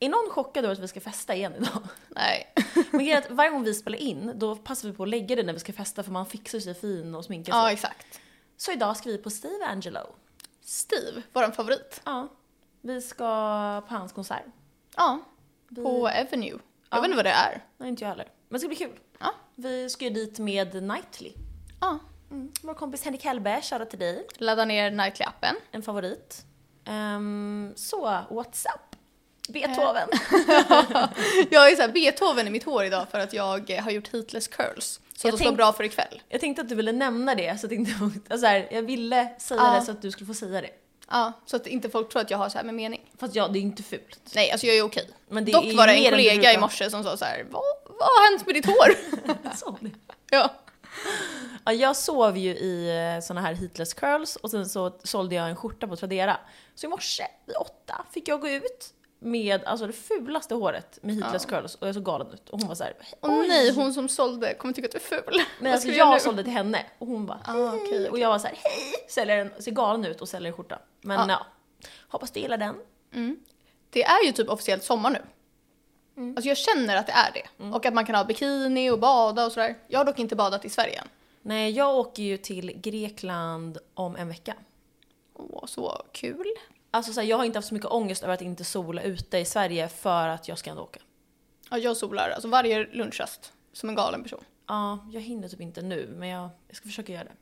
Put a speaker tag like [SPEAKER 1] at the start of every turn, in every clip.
[SPEAKER 1] Är någon chockad över att vi ska festa igen idag?
[SPEAKER 2] Nej.
[SPEAKER 1] Men grejen är att varje gång vi spelar in då passar vi på att lägga det när vi ska festa för man fixar sig fin och sminkar sig.
[SPEAKER 2] Ja, exakt.
[SPEAKER 1] Så idag ska vi på Steve Angelo.
[SPEAKER 2] Steve, våran favorit.
[SPEAKER 1] Ja. Vi ska på hans konsert.
[SPEAKER 2] Ja,
[SPEAKER 1] Vi...
[SPEAKER 2] på Avenue. Jag
[SPEAKER 1] Ja.
[SPEAKER 2] vet inte vad det är.
[SPEAKER 1] Nej, inte jag heller. Men det ska bli kul.
[SPEAKER 2] Ja.
[SPEAKER 1] Vi ska ju dit med Nightly.
[SPEAKER 2] Ja.
[SPEAKER 1] Vår kompis Henrik Hellberg, shoutout till dig.
[SPEAKER 2] Ladda ner Nightly-appen.
[SPEAKER 1] En favorit. Ehm, så, what's up?
[SPEAKER 2] Eh.
[SPEAKER 1] Beethoven.
[SPEAKER 2] Jag är såhär Beethoven i mitt hår idag för att jag eh, har gjort heatless curls. Så
[SPEAKER 1] Jag
[SPEAKER 2] att de står
[SPEAKER 1] tänk-
[SPEAKER 2] bra för ikväll.
[SPEAKER 1] Jag tänkte att du ville nämna det, så jag, tänkte, alltså så här, jag ville säga
[SPEAKER 2] Ja.
[SPEAKER 1] det så att du skulle få säga det.
[SPEAKER 2] Ja, så att inte folk tror att jag har så här med mening.
[SPEAKER 1] Fast ja, det är ju inte fult.
[SPEAKER 2] Nej, alltså jag är okej.
[SPEAKER 1] Men det
[SPEAKER 2] Dock
[SPEAKER 1] är
[SPEAKER 2] var det en
[SPEAKER 1] mer än du
[SPEAKER 2] kollega
[SPEAKER 1] brukar.
[SPEAKER 2] i morse som sa så här: vad, vad har hänt med ditt hår?
[SPEAKER 1] Så.
[SPEAKER 2] ja.
[SPEAKER 1] Ja, jag sov ju i eh, såna här heatless curls och sen så sålde jag en skjorta på Tradera. Så i morse vid åtta fick jag gå ut med alltså det fulaste håret med heatless curls och jag såg galen ut. Och hon var såhär
[SPEAKER 2] Och
[SPEAKER 1] "Oj."
[SPEAKER 2] nej, hon som sålde kommer tycka att du är ful.
[SPEAKER 1] Men
[SPEAKER 2] Vad ska
[SPEAKER 1] alltså
[SPEAKER 2] vi göra nu?
[SPEAKER 1] jag sålde till henne och hon bara
[SPEAKER 2] Ah, okej, okej.
[SPEAKER 1] och jag var såhär hej! Säljer den, ser galen ut och säljer en skjorta. Men
[SPEAKER 2] Ja.
[SPEAKER 1] ja. hoppas du gillar den.
[SPEAKER 2] Mm. Det är ju typ officiellt sommar nu.
[SPEAKER 1] Mm.
[SPEAKER 2] Alltså jag känner att det är det. Och att man kan ha bikini och bada och sådär. Jag har dock inte badat i Sverige än.
[SPEAKER 1] Nej, jag åker ju till Grekland om en vecka.
[SPEAKER 2] Åh, så kul.
[SPEAKER 1] Alltså så här, jag har inte haft så mycket ångest över att inte sola ute i Sverige för att jag ska ändå åka.
[SPEAKER 2] Ja, jag solar alltså varje lunchrast som en galen person.
[SPEAKER 1] Ja, jag hinner typ inte nu men jag, jag ska försöka göra det.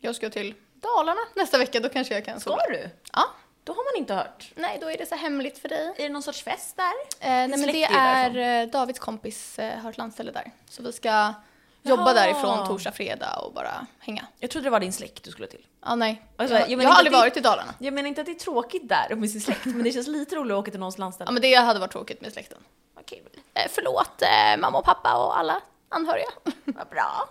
[SPEAKER 2] Jag ska till Dalarna nästa vecka, då kanske jag kan sola.
[SPEAKER 1] du?
[SPEAKER 2] Ja.
[SPEAKER 1] Då har man inte hört.
[SPEAKER 2] Nej, då är det så hemligt för dig.
[SPEAKER 1] Är det någon sorts fest där?
[SPEAKER 2] Eh, nej men
[SPEAKER 1] släkt
[SPEAKER 2] det
[SPEAKER 1] är ju
[SPEAKER 2] är
[SPEAKER 1] därifrån.
[SPEAKER 2] eh, Davids kompis eh, har ett landställe där. Så vi ska jobba
[SPEAKER 1] Ja.
[SPEAKER 2] därifrån torsdag, fredag och bara hänga.
[SPEAKER 1] Jag trodde det var din släkt du skulle till.
[SPEAKER 2] Ja, nej.
[SPEAKER 1] Alltså,
[SPEAKER 2] jag,
[SPEAKER 1] jo, men
[SPEAKER 2] jag har
[SPEAKER 1] inte
[SPEAKER 2] aldrig
[SPEAKER 1] det-
[SPEAKER 2] varit i Dalarna.
[SPEAKER 1] Jag menar inte att det är tråkigt där med sin släkt men det känns lite roligt att åka till någons
[SPEAKER 2] Ja,
[SPEAKER 1] landställe.
[SPEAKER 2] men det hade varit tråkigt med släkten.
[SPEAKER 1] Vad kul.
[SPEAKER 2] Eh, förlåt eh, mamma och pappa och alla anhöriga.
[SPEAKER 1] Vad bra.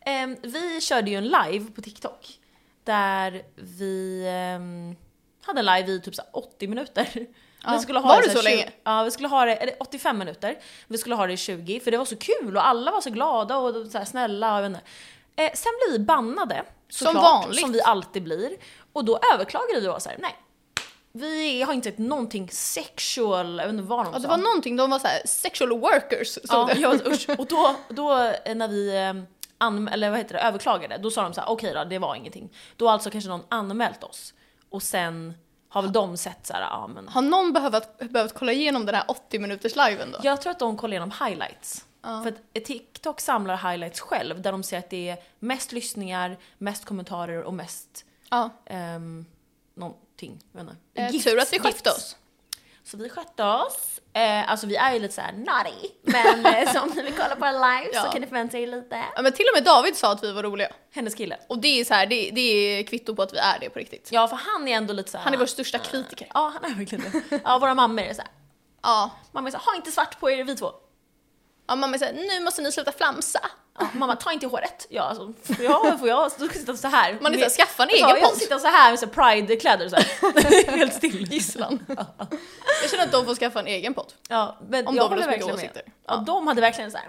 [SPEAKER 1] Ehm, vi körde ju en live på TikTok där vi ehm, hade en live i typ så här 80 minuter.
[SPEAKER 2] Ja.
[SPEAKER 1] Vi skulle ha
[SPEAKER 2] Var
[SPEAKER 1] det
[SPEAKER 2] det
[SPEAKER 1] här
[SPEAKER 2] så
[SPEAKER 1] 20
[SPEAKER 2] länge?
[SPEAKER 1] Ja, vi skulle ha det, eller 85 minuter. Vi skulle ha det i 20 för det var så kul och alla var så glada och så här snälla. Och jag vet inte. eh, sen blev vi bannade.
[SPEAKER 2] Som
[SPEAKER 1] såklart,
[SPEAKER 2] vanligt.
[SPEAKER 1] Som vi alltid blir. Och då överklagade du och var så här, nej. Vi har inte sett någonting sexual, jag vet inte vad de sa.
[SPEAKER 2] Ja, det var någonting, de var så här sexual workers. stod
[SPEAKER 1] Ja,
[SPEAKER 2] det.
[SPEAKER 1] jag var, usch. Och då, då eh, när vi eh, anm- eller vad heter det, överklagade, då sa de så här: okej då, det var ingenting. Då har alltså kanske någon anmält oss och sen har väl de sett så här, ja men.
[SPEAKER 2] Har någon behövt, behövt kolla igenom den här 80 minuters liven då?
[SPEAKER 1] Jag tror att de kollar igenom highlights.
[SPEAKER 2] Ja.
[SPEAKER 1] För att TikTok samlar highlights själv där de ser att det är mest lyssningar, mest kommentarer och mest
[SPEAKER 2] Ja.
[SPEAKER 1] ehm, någonting. Jag vet inte.
[SPEAKER 2] Eh,
[SPEAKER 1] Gifts,
[SPEAKER 2] tur att vi
[SPEAKER 1] gifts.
[SPEAKER 2] skötte oss.
[SPEAKER 1] Så vi skötte oss. Eh, alltså vi är ju lite såhär nutty, men eh, som ni vill kolla på live
[SPEAKER 2] Ja.
[SPEAKER 1] så kan ni förvänta er lite.
[SPEAKER 2] Ja, men till och med David sa att vi var roliga.
[SPEAKER 1] Hennes kille.
[SPEAKER 2] Och det är så här, det, det är kvitto på att vi är det på riktigt.
[SPEAKER 1] Ja för han är ändå lite såhär...
[SPEAKER 2] Han är vår största kritiker.
[SPEAKER 1] Ja han är verkligen det. Ja våra mammor är såhär,
[SPEAKER 2] Ja.
[SPEAKER 1] mamma är såhär ha inte svart på er vi två.
[SPEAKER 2] ja mamma säger nu måste ni sluta flamsa.
[SPEAKER 1] Ja, mamma ta inte i håret. Ja alltså, får jag, får jag då ska jag sitta så här.
[SPEAKER 2] Man är såhär, skaffa en
[SPEAKER 1] Ja,
[SPEAKER 2] egen
[SPEAKER 1] Jag
[SPEAKER 2] podd.
[SPEAKER 1] sitter så här med så här pride-kläder så här. Helt still.
[SPEAKER 2] Gisslan. Jag känner att de får skaffa en egen podd.
[SPEAKER 1] Ja, men
[SPEAKER 2] Om
[SPEAKER 1] jag
[SPEAKER 2] de vill
[SPEAKER 1] håller
[SPEAKER 2] ha så mycket
[SPEAKER 1] verkligen med.
[SPEAKER 2] åsikter.
[SPEAKER 1] Ja, de hade verkligen så här.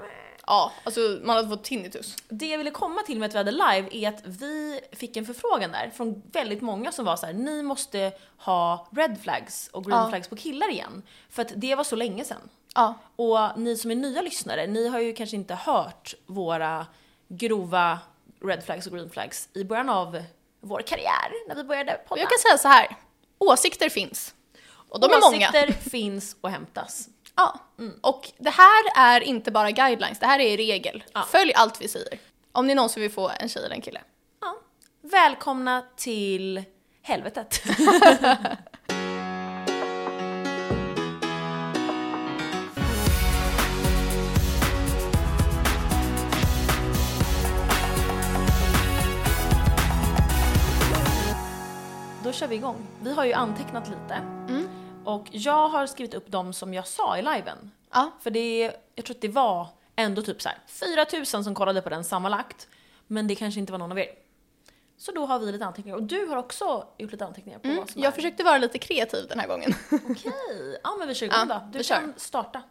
[SPEAKER 2] Ja, alltså man hade fått tinnitus.
[SPEAKER 1] Det jag ville komma till med att vi hade live är att vi fick en förfrågan där från väldigt många som var så här: ni måste ha red flags och green
[SPEAKER 2] Ja.
[SPEAKER 1] flags på killar igen. För att det var så länge sedan.
[SPEAKER 2] Ja.
[SPEAKER 1] Och ni som är nya lyssnare, ni har ju kanske inte hört våra grova red flags och green flags i början av vår karriär när vi började
[SPEAKER 2] Och
[SPEAKER 1] podda.
[SPEAKER 2] jag kan säga så här, åsikter finns. Och de är många.
[SPEAKER 1] Åsikter Mm. finns och hämtas.
[SPEAKER 2] Ja. Och det här är inte bara guidelines, det här är regel.
[SPEAKER 1] Ja.
[SPEAKER 2] Följ allt vi säger. Om ni någonsin vill få en tjej eller en kille.
[SPEAKER 1] Ja. Välkomna till helvetet. Då kör vi igång. Vi har ju antecknat lite. Och jag har skrivit upp de som jag sa i liven.
[SPEAKER 2] Ja.
[SPEAKER 1] För det, jag tror att det var ändå typ så här 4000 som kollade på den sammanlagt. Men det kanske inte var någon av er. Så då har vi lite anteckningar. Och du har också gjort lite anteckningar på vad som
[SPEAKER 2] Mm, Jag
[SPEAKER 1] är.
[SPEAKER 2] försökte vara lite kreativ den här gången.
[SPEAKER 1] Okej, ja men vi kör igång
[SPEAKER 2] Ja,
[SPEAKER 1] då. Du
[SPEAKER 2] vi kör.
[SPEAKER 1] kan starta.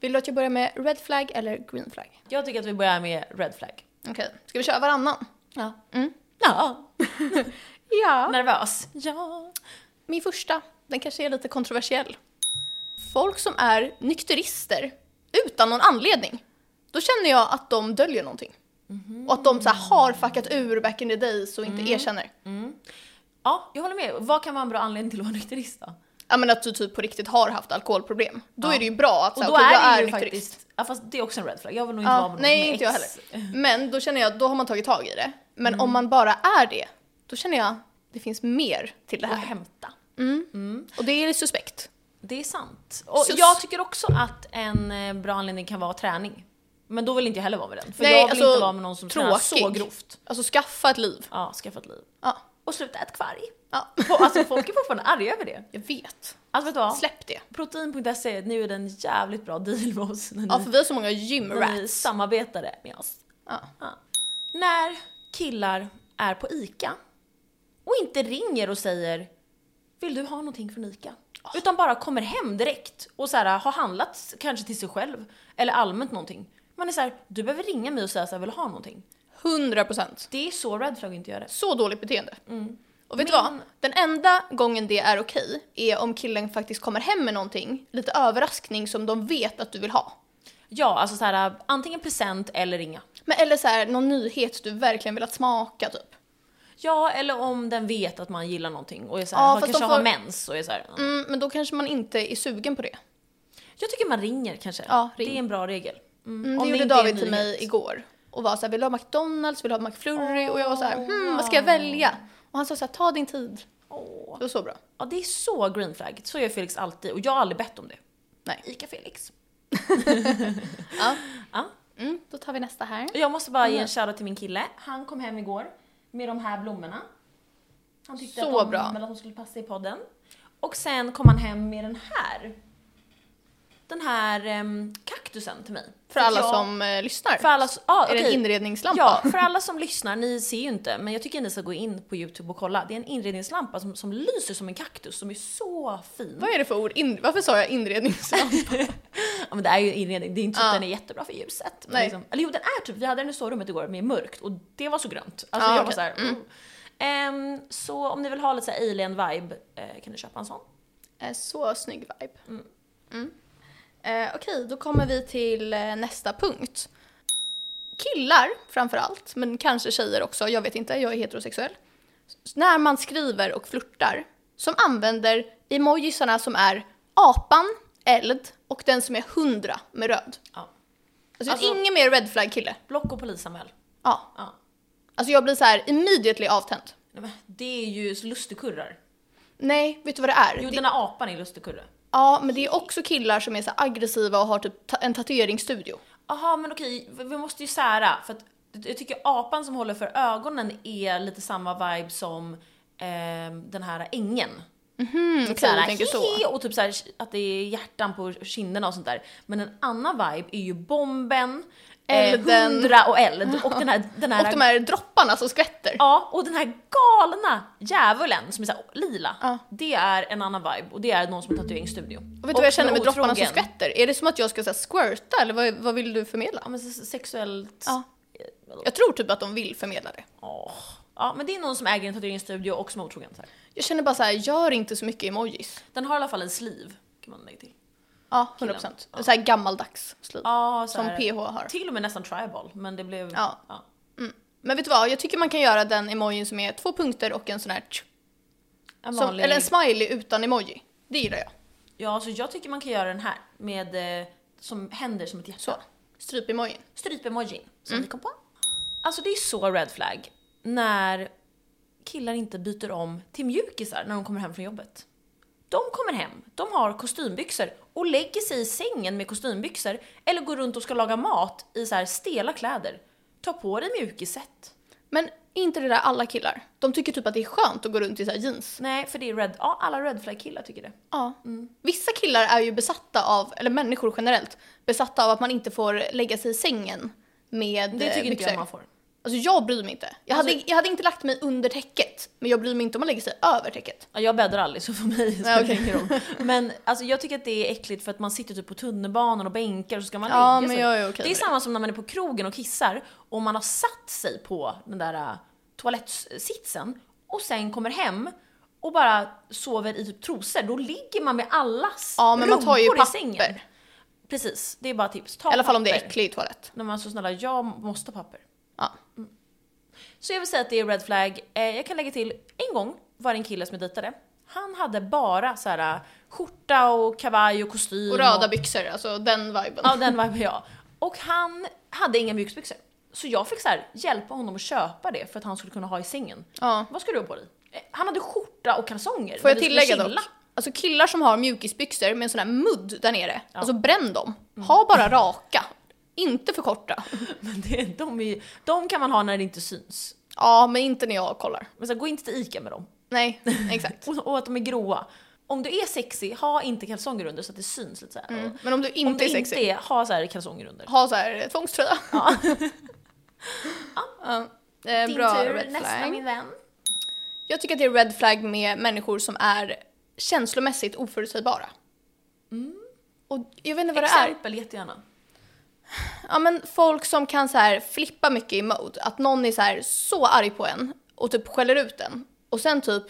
[SPEAKER 2] Vill du att jag börjar med red flag eller green flag?
[SPEAKER 1] Jag tycker att vi börjar med red flag.
[SPEAKER 2] Okej, ska vi köra varannan?
[SPEAKER 1] Ja. Ja.
[SPEAKER 2] Ja.
[SPEAKER 1] Nervös. Ja.
[SPEAKER 2] Min första, den kanske är lite kontroversiell. folk som är nykterister utan någon anledning, då känner jag att de döljer någonting.
[SPEAKER 1] Mhm.
[SPEAKER 2] Och att de så här, har fuckat ur back in the days och
[SPEAKER 1] Mm.
[SPEAKER 2] inte erkänner.
[SPEAKER 1] Ja, jag håller med. Vad kan vara en bra anledning till att vara nykterist då?
[SPEAKER 2] Ja men att du typ på riktigt har haft alkoholproblem. Då
[SPEAKER 1] Ja.
[SPEAKER 2] är det ju bra att
[SPEAKER 1] Och
[SPEAKER 2] säga
[SPEAKER 1] då
[SPEAKER 2] okej
[SPEAKER 1] är
[SPEAKER 2] jag
[SPEAKER 1] det
[SPEAKER 2] är
[SPEAKER 1] ju
[SPEAKER 2] nykterist.
[SPEAKER 1] faktiskt, ja, fast det är också en red flag. Jag vill nog inte vara
[SPEAKER 2] Ja,
[SPEAKER 1] med någon
[SPEAKER 2] nej
[SPEAKER 1] med
[SPEAKER 2] inte jag
[SPEAKER 1] ex. Mm.
[SPEAKER 2] heller. Men då känner jag, då har man tagit tag i det. Men om man bara är det, då känner jag det finns mer till det
[SPEAKER 1] Och
[SPEAKER 2] här.
[SPEAKER 1] hämta.
[SPEAKER 2] Och det är suspekt.
[SPEAKER 1] Det är sant. Och
[SPEAKER 2] Sus.
[SPEAKER 1] jag tycker också att en eh, bra anledning kan vara träning. Men då vill inte jag heller vara med den. För
[SPEAKER 2] Nej,
[SPEAKER 1] jag vill
[SPEAKER 2] alltså,
[SPEAKER 1] inte vara med någon som tränar så
[SPEAKER 2] tråkig.
[SPEAKER 1] grovt.
[SPEAKER 2] Alltså skaffa ett liv.
[SPEAKER 1] Ja, skaffa ett liv.
[SPEAKER 2] Ja.
[SPEAKER 1] Och sluta äta kvarg.
[SPEAKER 2] ja.
[SPEAKER 1] Och, Alltså folk är fortfarande arga över det.
[SPEAKER 2] Jag vet.
[SPEAKER 1] Alltså vet du vad?
[SPEAKER 2] Släpp det.
[SPEAKER 1] Protein.se, nu är den jävligt bra deal med oss när ni,
[SPEAKER 2] Ja för vi har så många
[SPEAKER 1] när ni
[SPEAKER 2] gymrats.
[SPEAKER 1] samarbetade med oss.
[SPEAKER 2] Ja.
[SPEAKER 1] När killar är på ICA och inte ringer och säger “vill du ha någonting från ICA?”
[SPEAKER 2] Ah.
[SPEAKER 1] utan bara kommer hem direkt och så här, har handlat kanske till sig själv eller allmänt någonting. Man är så här, du behöver ringa mig och säga så här, “vill du ha någonting?”
[SPEAKER 2] 100%.
[SPEAKER 1] Det är så red flag att inte göra det.
[SPEAKER 2] Så dåligt beteende. Och vet du
[SPEAKER 1] Mm. Men-
[SPEAKER 2] vad? Den enda gången det är okej är om killen faktiskt kommer hem med någonting, lite överraskning som de vet att du vill ha.
[SPEAKER 1] Ja, alltså så här, antingen present eller ringa.
[SPEAKER 2] Men eller så här, någon nyhet du verkligen vill att smaka typ.
[SPEAKER 1] Ja, eller om den vet att man gillar någonting och är så
[SPEAKER 2] Ja,
[SPEAKER 1] här, man
[SPEAKER 2] fast de
[SPEAKER 1] kanske har
[SPEAKER 2] får-
[SPEAKER 1] mens och är så här, "Mm."
[SPEAKER 2] Mm, men då kanske man inte är sugen på det.
[SPEAKER 1] Jag tycker man ringer kanske.
[SPEAKER 2] Ja, ring.
[SPEAKER 1] Det är en bra regel. Mm,
[SPEAKER 2] Mm, det gjorde
[SPEAKER 1] inte är en
[SPEAKER 2] David till
[SPEAKER 1] nyhet.
[SPEAKER 2] mig igår och var så här, vill du ha McDonalds, vill du ha McFlurry? och jag var så här,
[SPEAKER 1] Åh,
[SPEAKER 2] hmm, vad ska jag välja? Och han sa så här, ta din tid.
[SPEAKER 1] Åh.
[SPEAKER 2] Det var så bra.
[SPEAKER 1] Ja, det är så green flag. Så gör Felix alltid och jag har aldrig bett om det.
[SPEAKER 2] Nej.
[SPEAKER 1] Ica Felix.
[SPEAKER 2] Ja.
[SPEAKER 1] Ja.
[SPEAKER 2] Mm, då tar vi nästa här.
[SPEAKER 1] Och Jag måste bara
[SPEAKER 2] Mm.
[SPEAKER 1] ge en shoutout till min kille. Han kom hem igår med de här blommorna. Han tyckte
[SPEAKER 2] Så
[SPEAKER 1] att, de,
[SPEAKER 2] bra.
[SPEAKER 1] väl att de skulle passa i podden. Och sen kom han hem med den här. Den här ehm, kaktusen till mig.
[SPEAKER 2] För alla
[SPEAKER 1] att jag-
[SPEAKER 2] som eh, lyssnar.
[SPEAKER 1] För alla, som- ja,
[SPEAKER 2] är det en
[SPEAKER 1] okej.
[SPEAKER 2] inredningslampa?
[SPEAKER 1] Ja, för alla som lyssnar, ni ser ju inte, men jag tycker att ni ska gå in på YouTube och kolla. Det är en inredningslampa som, som lyser som en kaktus som är så fin.
[SPEAKER 2] Vad är det för ord? In- Varför sa jag inredningslampa?
[SPEAKER 1] Ja, men det är ju inredning, det är inte så
[SPEAKER 2] Ja.
[SPEAKER 1] att den är jättebra för ljuset. Men
[SPEAKER 2] Nej.
[SPEAKER 1] liksom, eller jo den är typ, vi hade den i sovrummet igår med mörkt och det var så grönt. Alltså
[SPEAKER 2] Ja,
[SPEAKER 1] jag var
[SPEAKER 2] okej.
[SPEAKER 1] såhär, mm. Ehm, Så om ni vill ha lite såhär alien vibe eh, kan ni köpa en sån.
[SPEAKER 2] Eh, Så snygg vibe. Mm. Eh, Okej, då kommer vi till eh, nästa punkt. Killar framför allt, men kanske tjejer också, jag vet inte, jag är heterosexuell. S- När man skriver och flörtar, som använder emojisarna som är apan, eld och den som är 100 med röd.
[SPEAKER 1] Ja.
[SPEAKER 2] Alltså,
[SPEAKER 1] Alltså-
[SPEAKER 2] ingen mer red flag kille.
[SPEAKER 1] Block och polisanmäl.
[SPEAKER 2] Ja.
[SPEAKER 1] Ja.
[SPEAKER 2] Alltså jag blir så här immediately avtänd.
[SPEAKER 1] Nej, men Det är ju så lustigkurrar.
[SPEAKER 2] Nej, vet du vad det är?
[SPEAKER 1] Jo
[SPEAKER 2] det
[SPEAKER 1] den här apan är lustigkurre.
[SPEAKER 2] Ja, men det är också killar som är så aggressiva och har typ ta- en tatueringsstudio.
[SPEAKER 1] Jaha men okej, vi vi måste ju sära för att jag tycker apan som håller för ögonen är lite samma vibe som ehm, den här ängen.
[SPEAKER 2] Mm,
[SPEAKER 1] Typ såhär, "Hihi", och typ såhär, att det är hjärtan på kinderna och sånt där. Men en annan vibe är ju bomben, elden.
[SPEAKER 2] Elden.
[SPEAKER 1] hundra och eld och den här, den här,
[SPEAKER 2] Och de här dropparna som skvätter.
[SPEAKER 1] ja, och den här galna djävulen som är såhär lila.
[SPEAKER 2] Ja.
[SPEAKER 1] Det är en annan vibe och det är någon som har tatueringsstudio.
[SPEAKER 2] Och vet du vad jag känner med
[SPEAKER 1] otrogen.
[SPEAKER 2] dropparna som skvätter? Är det som att jag ska säga squirta eller vad, vad vill du
[SPEAKER 1] Ja
[SPEAKER 2] förmedla?
[SPEAKER 1] men se- sexuellt.
[SPEAKER 2] Ja. Jag tror typ att de vill förmedla det.
[SPEAKER 1] Åh. Ja men det är någon som äger en tatueringsstudio och som är otrogen. Så här.
[SPEAKER 2] Jag känner bara så här, gör inte så mycket emojis.
[SPEAKER 1] Den har i alla fall en sleeve kan man lägga till.
[SPEAKER 2] Ja, 100%. procent. Så här gammaldags slit.
[SPEAKER 1] Ja, så
[SPEAKER 2] som
[SPEAKER 1] här-
[SPEAKER 2] PH har.
[SPEAKER 1] Till och med nästan tribal men det blev...
[SPEAKER 2] Ja.
[SPEAKER 1] ja.
[SPEAKER 2] Men vet du vad, jag tycker man kan göra den emojin som är två punkter och en sån här tsch,
[SPEAKER 1] En
[SPEAKER 2] som,
[SPEAKER 1] vanlig...
[SPEAKER 2] Eller en smiley utan emoji. Det gillar jag.
[SPEAKER 1] Ja, så jag tycker man kan göra den här med eh, som händer som ett
[SPEAKER 2] Så.
[SPEAKER 1] hjärta.
[SPEAKER 2] Strypemojin.
[SPEAKER 1] Strypemojin som
[SPEAKER 2] Mm.
[SPEAKER 1] vi kom på. Alltså det är så red flag när killar inte byter om till mjukisar när de kommer hem från jobbet. De kommer hem, de har kostymbyxor och lägger sig i sängen med kostymbyxor eller går runt och ska laga mat i så här stela kläder. Ta på dig mjukisset.
[SPEAKER 2] Men är inte det där alla killar? De tycker typ att det är skönt att gå runt i så här jeans.
[SPEAKER 1] Nej, för det är red... Ja, alla red flag killar tycker det.
[SPEAKER 2] Ja.
[SPEAKER 1] Mm.
[SPEAKER 2] Vissa killar är ju besatta av, eller människor generellt, besatta av att man inte får lägga sig i sängen med
[SPEAKER 1] Det
[SPEAKER 2] eh,
[SPEAKER 1] tycker inte
[SPEAKER 2] byxor.
[SPEAKER 1] jag man får.
[SPEAKER 2] Alltså jag bryr mig inte. Jag,
[SPEAKER 1] Alltså-
[SPEAKER 2] hade, jag hade inte lagt mig under täcket, men jag bryr mig inte om man lägger sig över täcket.
[SPEAKER 1] Ja, jag bäddar aldrig så för mig spelar det ingen roll. Men alltså, jag tycker att det är äckligt för att man sitter typ på tunnelbanan och bänkar och så ska man lägga
[SPEAKER 2] Ja, men
[SPEAKER 1] sig.
[SPEAKER 2] jag är okej
[SPEAKER 1] det är
[SPEAKER 2] med
[SPEAKER 1] samma som när man är på krogen och kissar och man har satt sig på den där äh, toalettsitsen och sen kommer hem och bara sover i typ trosor, då ligger man med allas
[SPEAKER 2] Ja, men man tar ju
[SPEAKER 1] rumpor i
[SPEAKER 2] papper.
[SPEAKER 1] sängen. Precis, det är bara tips. Ta
[SPEAKER 2] I alla fall om det är
[SPEAKER 1] papper.
[SPEAKER 2] äcklig toalett.
[SPEAKER 1] Nej men alltså snälla, jag måste ha papper. Mm.
[SPEAKER 2] Ja.
[SPEAKER 1] Så jag vill säga att det är red flag. Eh, jag kan lägga till, en gång var det en kille som jag dejtade. Han hade bara så här eh, skjorta och kavaj och kostym.
[SPEAKER 2] Och röda byxor, alltså den viben.
[SPEAKER 1] Ja, den viben jag. Och han hade inga mjukisbyxor. Så jag fick så här, hjälpa honom att köpa det för att han skulle kunna ha i sängen.
[SPEAKER 2] Ja.
[SPEAKER 1] Vad ska du ha på dig? Eh, Han hade skjorta och kalsonger.
[SPEAKER 2] Får
[SPEAKER 1] men
[SPEAKER 2] jag
[SPEAKER 1] vi skulle
[SPEAKER 2] tillägga dock?
[SPEAKER 1] chilla.
[SPEAKER 2] Alltså killar som har mjukisbyxor med en sån här mudd där nere, alltså bränn dem.
[SPEAKER 1] Mm.
[SPEAKER 2] Ha bara raka, inte för korta.
[SPEAKER 1] Men det, de, är, ju- de kan man ha när det inte syns.
[SPEAKER 2] Ja, men inte när jag kollar.
[SPEAKER 1] Men så här, gå inte till ICA med dem.
[SPEAKER 2] Nej, exakt.
[SPEAKER 1] Och, och att de är gråa. Om du är sexy, ha inte kalsonger under så att det syns lite så här. Och
[SPEAKER 2] Men om du
[SPEAKER 1] Om
[SPEAKER 2] Mm. inte
[SPEAKER 1] du
[SPEAKER 2] är sexig,
[SPEAKER 1] inte är, ha så här kalsonger under.
[SPEAKER 2] ha så här tvångströja.
[SPEAKER 1] Ja.
[SPEAKER 2] Ja. Eh, Bra red
[SPEAKER 1] nästa
[SPEAKER 2] flag.
[SPEAKER 1] min vän.
[SPEAKER 2] Jag tycker att det är red flag med människor som är känslomässigt oförutsägbara.
[SPEAKER 1] Mm.
[SPEAKER 2] Och jag vet inte vad det är.
[SPEAKER 1] Exempel jättegärna.
[SPEAKER 2] Ja men folk som kan så här flippa mycket i mode. Att någon är så här så arg på en och typ skäller ut en. Och sen typ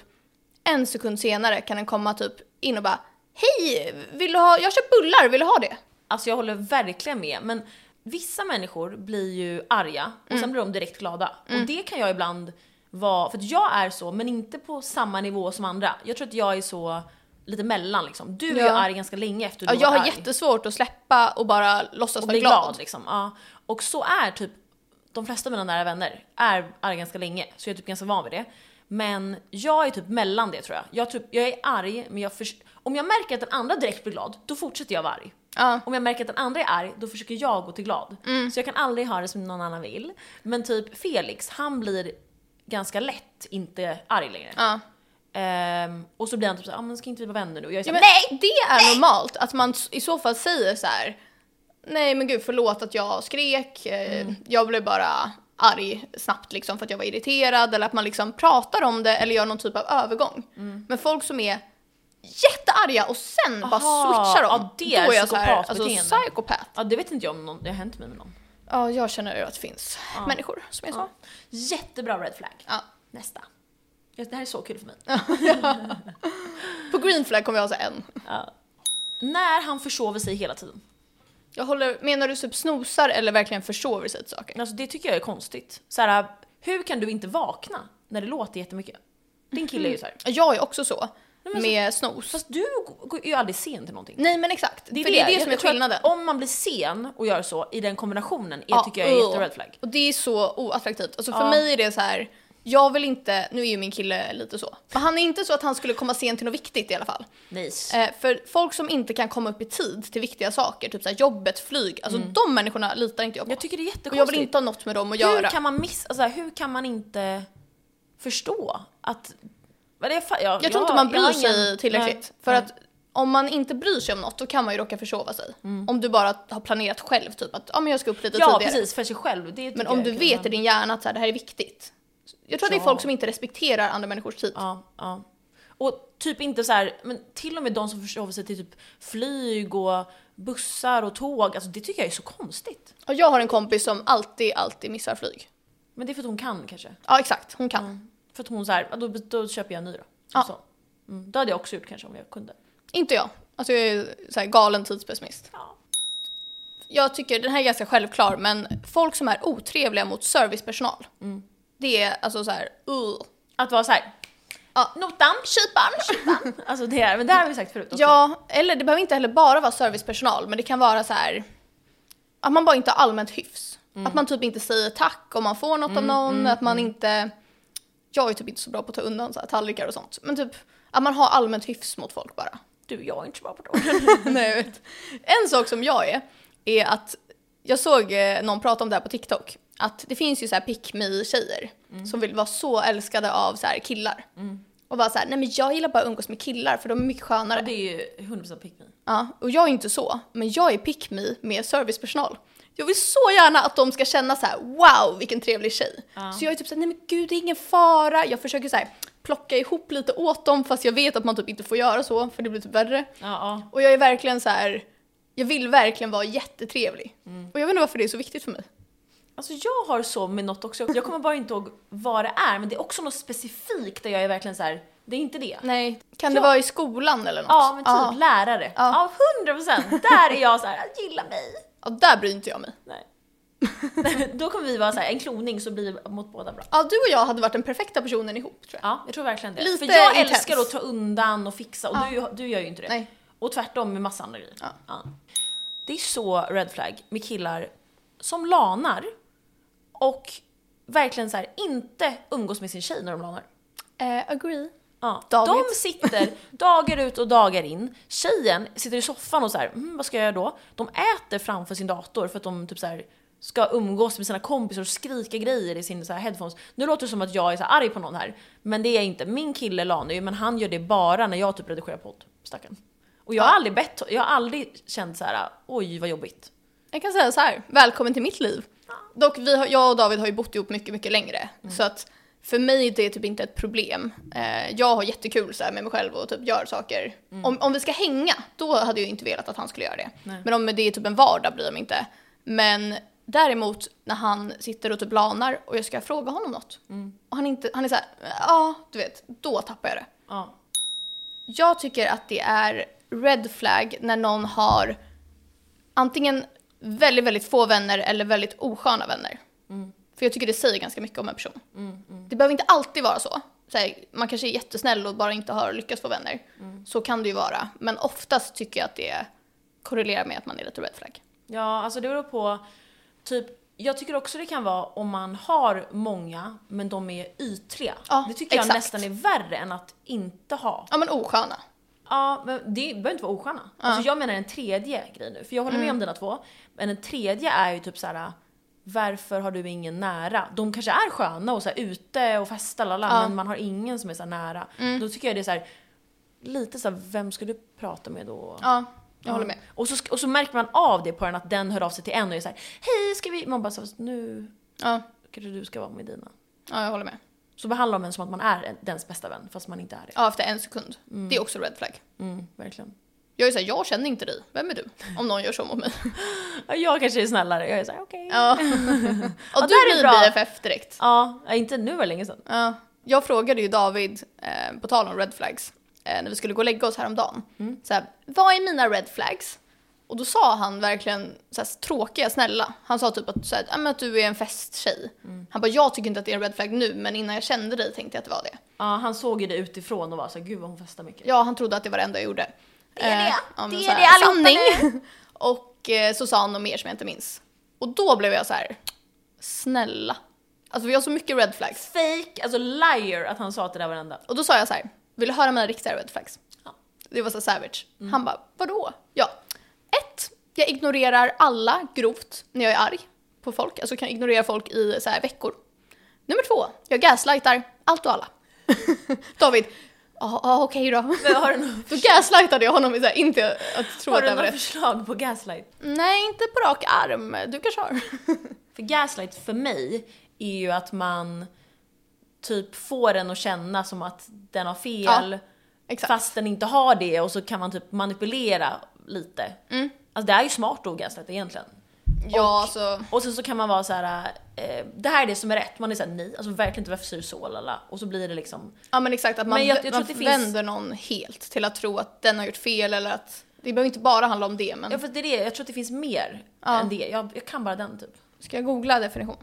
[SPEAKER 2] en sekund senare kan den komma typ in och bara Hej! Vill du ha, jag köper bullar, vill du ha det?
[SPEAKER 1] Alltså jag håller verkligen med, men vissa människor blir ju arga och
[SPEAKER 2] Mm.
[SPEAKER 1] sen blir de direkt glada. Och det kan jag ibland vara, för att jag är så, men inte på samma nivå som andra. Jag tror att jag är så lite mellan liksom. Du är ju
[SPEAKER 2] Ja.
[SPEAKER 1] arg ganska länge efter
[SPEAKER 2] Ja,
[SPEAKER 1] du
[SPEAKER 2] jag
[SPEAKER 1] var
[SPEAKER 2] har
[SPEAKER 1] arg.
[SPEAKER 2] jättesvårt att släppa och bara låtsas
[SPEAKER 1] och
[SPEAKER 2] vara
[SPEAKER 1] bli
[SPEAKER 2] glad.
[SPEAKER 1] glad. liksom. Ja. Och så är typ de flesta av mina nära vänner är arga ganska länge, så jag är typ ganska van vid det. Men jag är typ mellan det tror jag. Jag, typ, jag är arg, men jag förs- om jag märker att den andra direkt blir glad, då fortsätter jag vara arg.
[SPEAKER 2] Ja.
[SPEAKER 1] Om jag märker att den andra är arg, då försöker jag gå till glad.
[SPEAKER 2] Mm.
[SPEAKER 1] Så jag kan aldrig ha det som någon annan vill. Men typ Felix, han blir ganska lätt inte arg längre.
[SPEAKER 2] Ja.
[SPEAKER 1] Ehm, och så blir han typ såhär, ah, men ska inte vi vara vänner nu? Och jag är
[SPEAKER 2] Ja,
[SPEAKER 1] såhär, nej!
[SPEAKER 2] men Nej! Det är normalt att man s- i så fall säger så här. Nej men gud förlåt att jag skrek, eh, jag blev bara arg snabbt liksom för att jag var irriterad eller att man liksom pratar om det eller gör någon typ av övergång. Men folk som är jättearga och sen bara
[SPEAKER 1] Aha,
[SPEAKER 2] switchar dem,
[SPEAKER 1] ja, det är
[SPEAKER 2] då är jag så här, alltså
[SPEAKER 1] psykopatbeteende.
[SPEAKER 2] psykopat.
[SPEAKER 1] Ja det "Ah, vet inte jag om någon, det har hänt mig med någon.
[SPEAKER 2] Ja, jag känner ju att det finns människor som är så.
[SPEAKER 1] Ja. Jättebra red flag.
[SPEAKER 2] Ja.
[SPEAKER 1] Nästa. Ja, Det här är så kul för mig.
[SPEAKER 2] På green flag kommer jag ha så här en.
[SPEAKER 1] Ja. När han försover sig hela tiden.
[SPEAKER 2] Jag håller, menar du typ snosar eller verkligen försover sig till saker?
[SPEAKER 1] Alltså det tycker jag är konstigt. Så här, hur kan du inte vakna när det låter jättemycket? Din kille är ju så här.
[SPEAKER 2] Jag är också så,
[SPEAKER 1] men så-
[SPEAKER 2] med snos.
[SPEAKER 1] Fast du g- är ju aldrig sen till någonting.
[SPEAKER 2] Nej men exakt, det är Mm. för det, det är det
[SPEAKER 1] Jag-
[SPEAKER 2] som är
[SPEAKER 1] jag tror att
[SPEAKER 2] skillnaden.
[SPEAKER 1] Om man blir sen och gör så i den kombinationen är,
[SPEAKER 2] Ja,
[SPEAKER 1] tycker jag är
[SPEAKER 2] ugh.
[SPEAKER 1] jättered flag.
[SPEAKER 2] Och det är så oattraktivt. Alltså för
[SPEAKER 1] Ja.
[SPEAKER 2] mig är det så här. jag vill inte, nu är ju min kille lite så, men han är inte så att han skulle komma sent till något viktigt i alla fall.
[SPEAKER 1] Nice.
[SPEAKER 2] Eh, för folk som inte kan komma upp i tid till viktiga saker, typ så här jobbet, flyg, alltså de människorna litar inte jag på.
[SPEAKER 1] Mm. Jag tycker det är
[SPEAKER 2] och jag
[SPEAKER 1] jättekonstigt.
[SPEAKER 2] vill inte ha något med dem att
[SPEAKER 1] hur,
[SPEAKER 2] göra.
[SPEAKER 1] kan man miss, alltså, hur kan man inte förstå att... men Jag, fa- jag,
[SPEAKER 2] Jag tror inte
[SPEAKER 1] jag-
[SPEAKER 2] man bryr
[SPEAKER 1] jag har
[SPEAKER 2] sig
[SPEAKER 1] ingen-
[SPEAKER 2] tillräckligt.
[SPEAKER 1] Nej.
[SPEAKER 2] För
[SPEAKER 1] Nej.
[SPEAKER 2] att om man inte bryr sig om något då kan man ju råka försova sig. Om du bara har planerat själv, typ att ja, men jag ska upp lite
[SPEAKER 1] Mm. Ja
[SPEAKER 2] tidigare.
[SPEAKER 1] precis, för sig själv. Det
[SPEAKER 2] Men
[SPEAKER 1] tycker
[SPEAKER 2] om
[SPEAKER 1] jag är kul,
[SPEAKER 2] du vet i
[SPEAKER 1] men-
[SPEAKER 2] din hjärna att så här, det här är viktigt. Jag tror att det
[SPEAKER 1] Ja.
[SPEAKER 2] är folk som inte respekterar andra människors tid.
[SPEAKER 1] Ja, ja. Och typ inte så här, men till och med de som försover sig till typ flyg och bussar och tåg, alltså det tycker jag är så konstigt.
[SPEAKER 2] Och jag har en kompis som alltid, alltid missar flyg.
[SPEAKER 1] Men det är för att hon kan kanske.
[SPEAKER 2] Ja exakt, hon
[SPEAKER 1] Mm.
[SPEAKER 2] kan.
[SPEAKER 1] För att hon så här, ja, då, då köper jag en ny då.
[SPEAKER 2] Ja.
[SPEAKER 1] Så. Mm, det hade jag också gjort kanske om jag kunde.
[SPEAKER 2] Inte jag. Alltså jag är så här, galen tidspessimist.
[SPEAKER 1] Ja.
[SPEAKER 2] Jag tycker den här är ganska självklar men folk som är otrevliga mot servicepersonal.
[SPEAKER 1] Mm.
[SPEAKER 2] Det är alltså så här, uh.
[SPEAKER 1] Att vara så här,
[SPEAKER 2] Ja.
[SPEAKER 1] notan,
[SPEAKER 2] Kyparen!
[SPEAKER 1] kypan. alltså det är, men det här har vi sagt förut också.
[SPEAKER 2] Ja, eller det behöver inte heller bara vara servicepersonal, men det kan vara så här att man bara inte har allmänt hyfs. Att man typ inte säger tack om man får något av någon, att man inte... Jag är typ inte så bra på att ta undan så här, tallrikar och sånt, men typ att man har allmänt hyfs mot folk bara.
[SPEAKER 1] Du, jag är inte så bra på det.
[SPEAKER 2] Nej, jag vet. En sak som jag är, är att jag såg eh, någon prata om det här på TikTok. Att det finns ju så här pick me tjejer som vill vara så älskade av så här killar. Och vara så här, nej men jag gillar bara att umgås med killar för de är mycket skönare.
[SPEAKER 1] Det är ju 100% pick me.
[SPEAKER 2] Ja, och jag är inte så, men jag är pick me med servicepersonal. Jag vill så gärna att de ska känna så här: wow vilken trevlig tjej. Så jag är typ såhär, nej men gud det är ingen fara. Jag försöker så här, plocka ihop lite åt dem fast jag vet att man typ inte får göra så för det blir typ värre.
[SPEAKER 1] Ja, ja.
[SPEAKER 2] Och jag är verkligen så här. jag vill verkligen vara jättetrevlig.
[SPEAKER 1] Mm.
[SPEAKER 2] Och jag vet inte varför det är så viktigt för mig.
[SPEAKER 1] Alltså jag har så med något också. Jag kommer bara inte ihåg vad det är, men det är också något specifikt där jag är verkligen så här: Det är inte det.
[SPEAKER 2] Nej. Kan det
[SPEAKER 1] Ja.
[SPEAKER 2] vara i skolan eller något?
[SPEAKER 1] Ja, men typ
[SPEAKER 2] Ja.
[SPEAKER 1] lärare.
[SPEAKER 2] Ja.
[SPEAKER 1] Ja, hundra procent. Där är jag så här, gilla mig.
[SPEAKER 2] Ja, där bryr inte jag mig.
[SPEAKER 1] Nej. Då kommer vi vara så här, en kloning så blir vi mot båda bra.
[SPEAKER 2] Ja, du och jag hade varit den perfekta personen ihop tror jag.
[SPEAKER 1] Ja, jag tror verkligen det.
[SPEAKER 2] Lite
[SPEAKER 1] För jag
[SPEAKER 2] intens.
[SPEAKER 1] älskar att ta undan och fixa och du, du gör ju inte det.
[SPEAKER 2] Nej.
[SPEAKER 1] Och tvärtom med massa andra grejer.
[SPEAKER 2] Ja.
[SPEAKER 1] Det är så red flag med killar som lanar och verkligen så här, inte umgås med sin tjej när de lanar.
[SPEAKER 2] Eh, agree.
[SPEAKER 1] Ja.
[SPEAKER 2] Dagligt.
[SPEAKER 1] De sitter dagar ut och dagar in, tjejen sitter i soffan och så här, mm, vad ska jag göra då? De äter framför sin dator för att de typ så här ska umgås med sina kompisar och skrika grejer i sina så här headphones. Nu låter det som att jag är så här arg på någon här, men det är jag inte. Min kille lanar ju, men han gör det bara när jag typ redigerar podd, stackarn. Och jag har aldrig bett, jag har aldrig känt så här, oj vad jobbigt.
[SPEAKER 2] Jag kan säga så här, välkommen till mitt liv. Dock, vi har, jag och David har ju bott ihop mycket, mycket längre. Så att för mig är det typ inte ett problem. Eh, jag har jättekul så här med mig själv och typ gör saker. Om, om vi ska hänga, då hade jag ju inte velat att han skulle göra det.
[SPEAKER 1] Nej.
[SPEAKER 2] Men om det är typ en vardag bryr jag mig inte. Men däremot när han sitter och typ lanar och jag ska fråga honom något. Och han, inte, han är så här, ja du vet, då tappar jag det.
[SPEAKER 1] Ja.
[SPEAKER 2] Jag tycker att det är red flag när någon har antingen väldigt, väldigt få vänner eller väldigt osköna vänner. För jag tycker det säger ganska mycket om en person.
[SPEAKER 1] Mm,
[SPEAKER 2] Det behöver inte alltid vara så. så här, man kanske är jättesnäll och bara inte har lyckats få vänner. Så kan det ju vara. Men oftast tycker jag att det korrelerar med att man är lite red flag.
[SPEAKER 1] Ja, alltså det beror på. Typ, jag tycker också det kan vara om man har många men de är ytliga.
[SPEAKER 2] Ja,
[SPEAKER 1] det tycker jag
[SPEAKER 2] exakt.
[SPEAKER 1] nästan är värre än att inte ha.
[SPEAKER 2] Ja men osköna.
[SPEAKER 1] Ja, men det behöver inte vara osköna. Alltså jag menar en tredje grej nu, för jag håller
[SPEAKER 2] Mm.
[SPEAKER 1] med om dina två. Men en tredje är ju typ så här. Varför har du ingen nära? De kanske är sköna och så här, ute och festar, lala,
[SPEAKER 2] Ja.
[SPEAKER 1] men man har ingen som är så här, nära.
[SPEAKER 2] Mm.
[SPEAKER 1] Då tycker jag det är så här, lite så här, vem ska du prata med då?
[SPEAKER 2] Ja, jag håller med.
[SPEAKER 1] Och så, och så märker man av det på den att den hör av sig till en och är såhär Hej ska vi... Man bara så, nu
[SPEAKER 2] Ja,
[SPEAKER 1] kanske du ska vara med dina.
[SPEAKER 2] ja jag håller med.
[SPEAKER 1] Så behandlar de en som att man är en- dens bästa vän fast man inte är det.
[SPEAKER 2] Ja, efter en sekund. Det är också red flag.
[SPEAKER 1] Mm, verkligen.
[SPEAKER 2] Jag är såhär, jag känner inte dig. Vem är du? Om någon gör så mot mig.
[SPEAKER 1] Ja, Jag kanske är snällare, jag är såhär okej. Ja.
[SPEAKER 2] Ja. och
[SPEAKER 1] Ja,
[SPEAKER 2] du
[SPEAKER 1] där är
[SPEAKER 2] blir
[SPEAKER 1] bra.
[SPEAKER 2] BFF direkt.
[SPEAKER 1] ja, inte nu var det länge sedan.
[SPEAKER 2] Ja. Jag frågade ju David, eh, på tal om red flags, eh, när vi skulle gå och lägga oss häromdagen.
[SPEAKER 1] Mm.
[SPEAKER 2] Så här, vad är mina red flags? Och då sa han verkligen så här, tråkiga, snälla. Han sa typ att, så här, "Ja, men att du är en festtjej.
[SPEAKER 1] Mm.
[SPEAKER 2] Han bara, jag tycker inte att det är en red flag nu, men innan jag kände dig tänkte jag att det var det.
[SPEAKER 1] Ja, han såg ju det utifrån och var såhär gud vad hon festar mycket.
[SPEAKER 2] Ja, han trodde att det var det enda jag gjorde.
[SPEAKER 1] Det är det.
[SPEAKER 2] Eh, ja, men
[SPEAKER 1] Det är
[SPEAKER 2] så här,
[SPEAKER 1] det allihopa
[SPEAKER 2] sanning. Och eh, så sa han något mer som jag inte minns. Och då blev jag så här, snälla. Alltså vi har så mycket red flags.
[SPEAKER 1] Fake, alltså liar att han sa att det där varenda.
[SPEAKER 2] Och då sa jag så här, vill du höra mina riktiga red flags?
[SPEAKER 1] Ja. Mm.
[SPEAKER 2] Det var så savage. Han bara, vadå? Ja. Ett, jag ignorerar alla grovt när jag är arg på folk. Alltså kan ignorera folk i så här veckor. Nummer två, jag gaslightar allt och alla. David, ja ja, okej då.
[SPEAKER 1] Men har du, några-
[SPEAKER 2] Då gaslightade jag honom i så här, inte att tro
[SPEAKER 1] har
[SPEAKER 2] att
[SPEAKER 1] du
[SPEAKER 2] det var
[SPEAKER 1] några
[SPEAKER 2] det.
[SPEAKER 1] förslag på gaslight?
[SPEAKER 2] Nej, inte på rak arm. Du kanske har.
[SPEAKER 1] För gaslight för mig är ju att man typ får den att känna som att den har fel
[SPEAKER 2] Ja, Exakt.
[SPEAKER 1] fast den inte har det och så kan man typ manipulera lite.
[SPEAKER 2] Mm.
[SPEAKER 1] Alltså det är ju smart att gaslighta egentligen.
[SPEAKER 2] ja, alltså- så.
[SPEAKER 1] Och sen så kan man vara så här. Eh, det här är det som är rätt. Man är såhär nej, alltså verkligen inte varför säger du så lala? Och så blir det liksom,
[SPEAKER 2] Ja men exakt, att man,
[SPEAKER 1] Men jag- jag tror
[SPEAKER 2] man
[SPEAKER 1] att det finns-
[SPEAKER 2] vänder någon helt till att tro att den har gjort fel eller att det behöver inte bara handla om det men
[SPEAKER 1] ja för det är det, jag tror att det finns mer
[SPEAKER 2] Ja.
[SPEAKER 1] än det. Jag, jag kan bara den typ.
[SPEAKER 2] ska jag googla definition?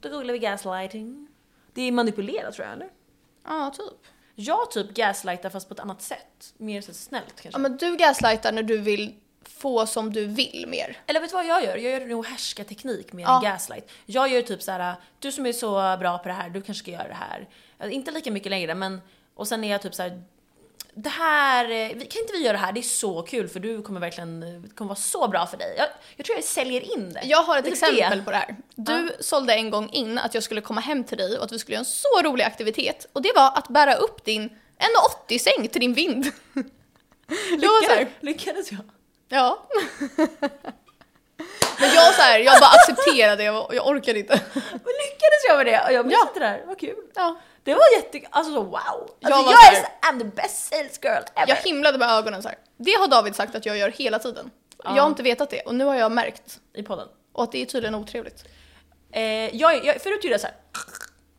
[SPEAKER 1] Då googlar vi gaslighting. Det är manipulera tror jag eller?
[SPEAKER 2] Ja typ.
[SPEAKER 1] Jag typ gaslightar fast på ett annat sätt. Mer så här snällt kanske.
[SPEAKER 2] Ja men du gaslightar när du vill få som du vill mer.
[SPEAKER 1] Eller vet du vad jag gör? Jag gör nog härskarteknik mer
[SPEAKER 2] Ja.
[SPEAKER 1] än gaslight. Jag gör typ så här: du som är så bra på det här, du kanske ska göra det här. Eh, Inte lika mycket längre men, och sen är jag typ så här. det här, eh, vi- kan inte vi göra det här? Det är så kul för du kommer verkligen, eh, det kommer vara så bra för dig. Jag, jag tror jag säljer in det.
[SPEAKER 2] Jag har ett
[SPEAKER 1] Det är typ
[SPEAKER 2] exempel
[SPEAKER 1] det.
[SPEAKER 2] på det här. Du sålde en gång in att jag skulle komma hem till dig och att vi skulle göra en så rolig aktivitet och det var att bära upp din 1,80 säng till din vind. Jag var så här,
[SPEAKER 1] Lyckades, lyckades jag?
[SPEAKER 2] ja. Men jag så här, jag bara accepterade det och jag orkade inte.
[SPEAKER 1] Men lyckades jag med det? Och jag minns
[SPEAKER 2] Ja.
[SPEAKER 1] inte det här, vad kul.
[SPEAKER 2] Ja.
[SPEAKER 1] Det var jätte, alltså så wow. Alltså,
[SPEAKER 2] Jag
[SPEAKER 1] jag,
[SPEAKER 2] var
[SPEAKER 1] är
[SPEAKER 2] så
[SPEAKER 1] så,
[SPEAKER 2] här-
[SPEAKER 1] I'm the best sales girl ever.
[SPEAKER 2] Jag himlade med ögonen så här. Det har David sagt att jag gör hela tiden. Jag har inte vetat det och nu har jag märkt.
[SPEAKER 1] I podden.
[SPEAKER 2] Och att det är tydligen otrevligt.
[SPEAKER 1] Eh, jag, jag, förut gjorde jag såhär.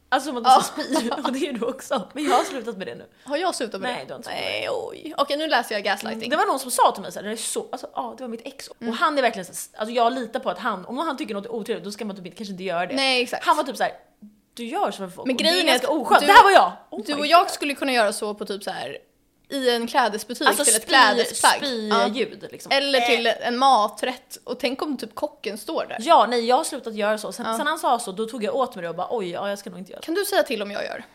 [SPEAKER 1] Alltså som att de spyr, och det är du också. Men jag har slutat med det nu.
[SPEAKER 2] Har jag slutat med
[SPEAKER 1] Nej,
[SPEAKER 2] det?
[SPEAKER 1] du har inte slutat
[SPEAKER 2] Nej, oj. Okej, nu läser jag gaslighting.
[SPEAKER 1] Det var någon som sa till mig såhär, det är så, alltså, ja det var mitt ex.
[SPEAKER 2] Mm.
[SPEAKER 1] Och han är verkligen såhär, alltså jag litar på att han, om han tycker något är otrevligt då ska man typ, inte- kanske inte göra det.
[SPEAKER 2] Nej, exakt.
[SPEAKER 1] Han var typ såhär, du gör så för folk.
[SPEAKER 2] Men
[SPEAKER 1] och
[SPEAKER 2] grejen
[SPEAKER 1] det
[SPEAKER 2] är
[SPEAKER 1] ganska
[SPEAKER 2] att
[SPEAKER 1] oskönt.
[SPEAKER 2] du-
[SPEAKER 1] det här var jag! Oh
[SPEAKER 2] Du
[SPEAKER 1] my
[SPEAKER 2] och jag
[SPEAKER 1] God.
[SPEAKER 2] skulle kunna göra så på typ så här i en klädesbutik
[SPEAKER 1] Alltså
[SPEAKER 2] till ett
[SPEAKER 1] spy,
[SPEAKER 2] klädesplagg. Ja.
[SPEAKER 1] spy-ljud liksom.
[SPEAKER 2] Eller till en maträtt och tänk om typ kocken står där.
[SPEAKER 1] Ja, nej jag har slutat göra så. Sen,
[SPEAKER 2] Ja.
[SPEAKER 1] sen han sa så, då tog jag åt mig det och bara oj, ja jag ska nog inte göra det.
[SPEAKER 2] Kan du säga till om jag gör?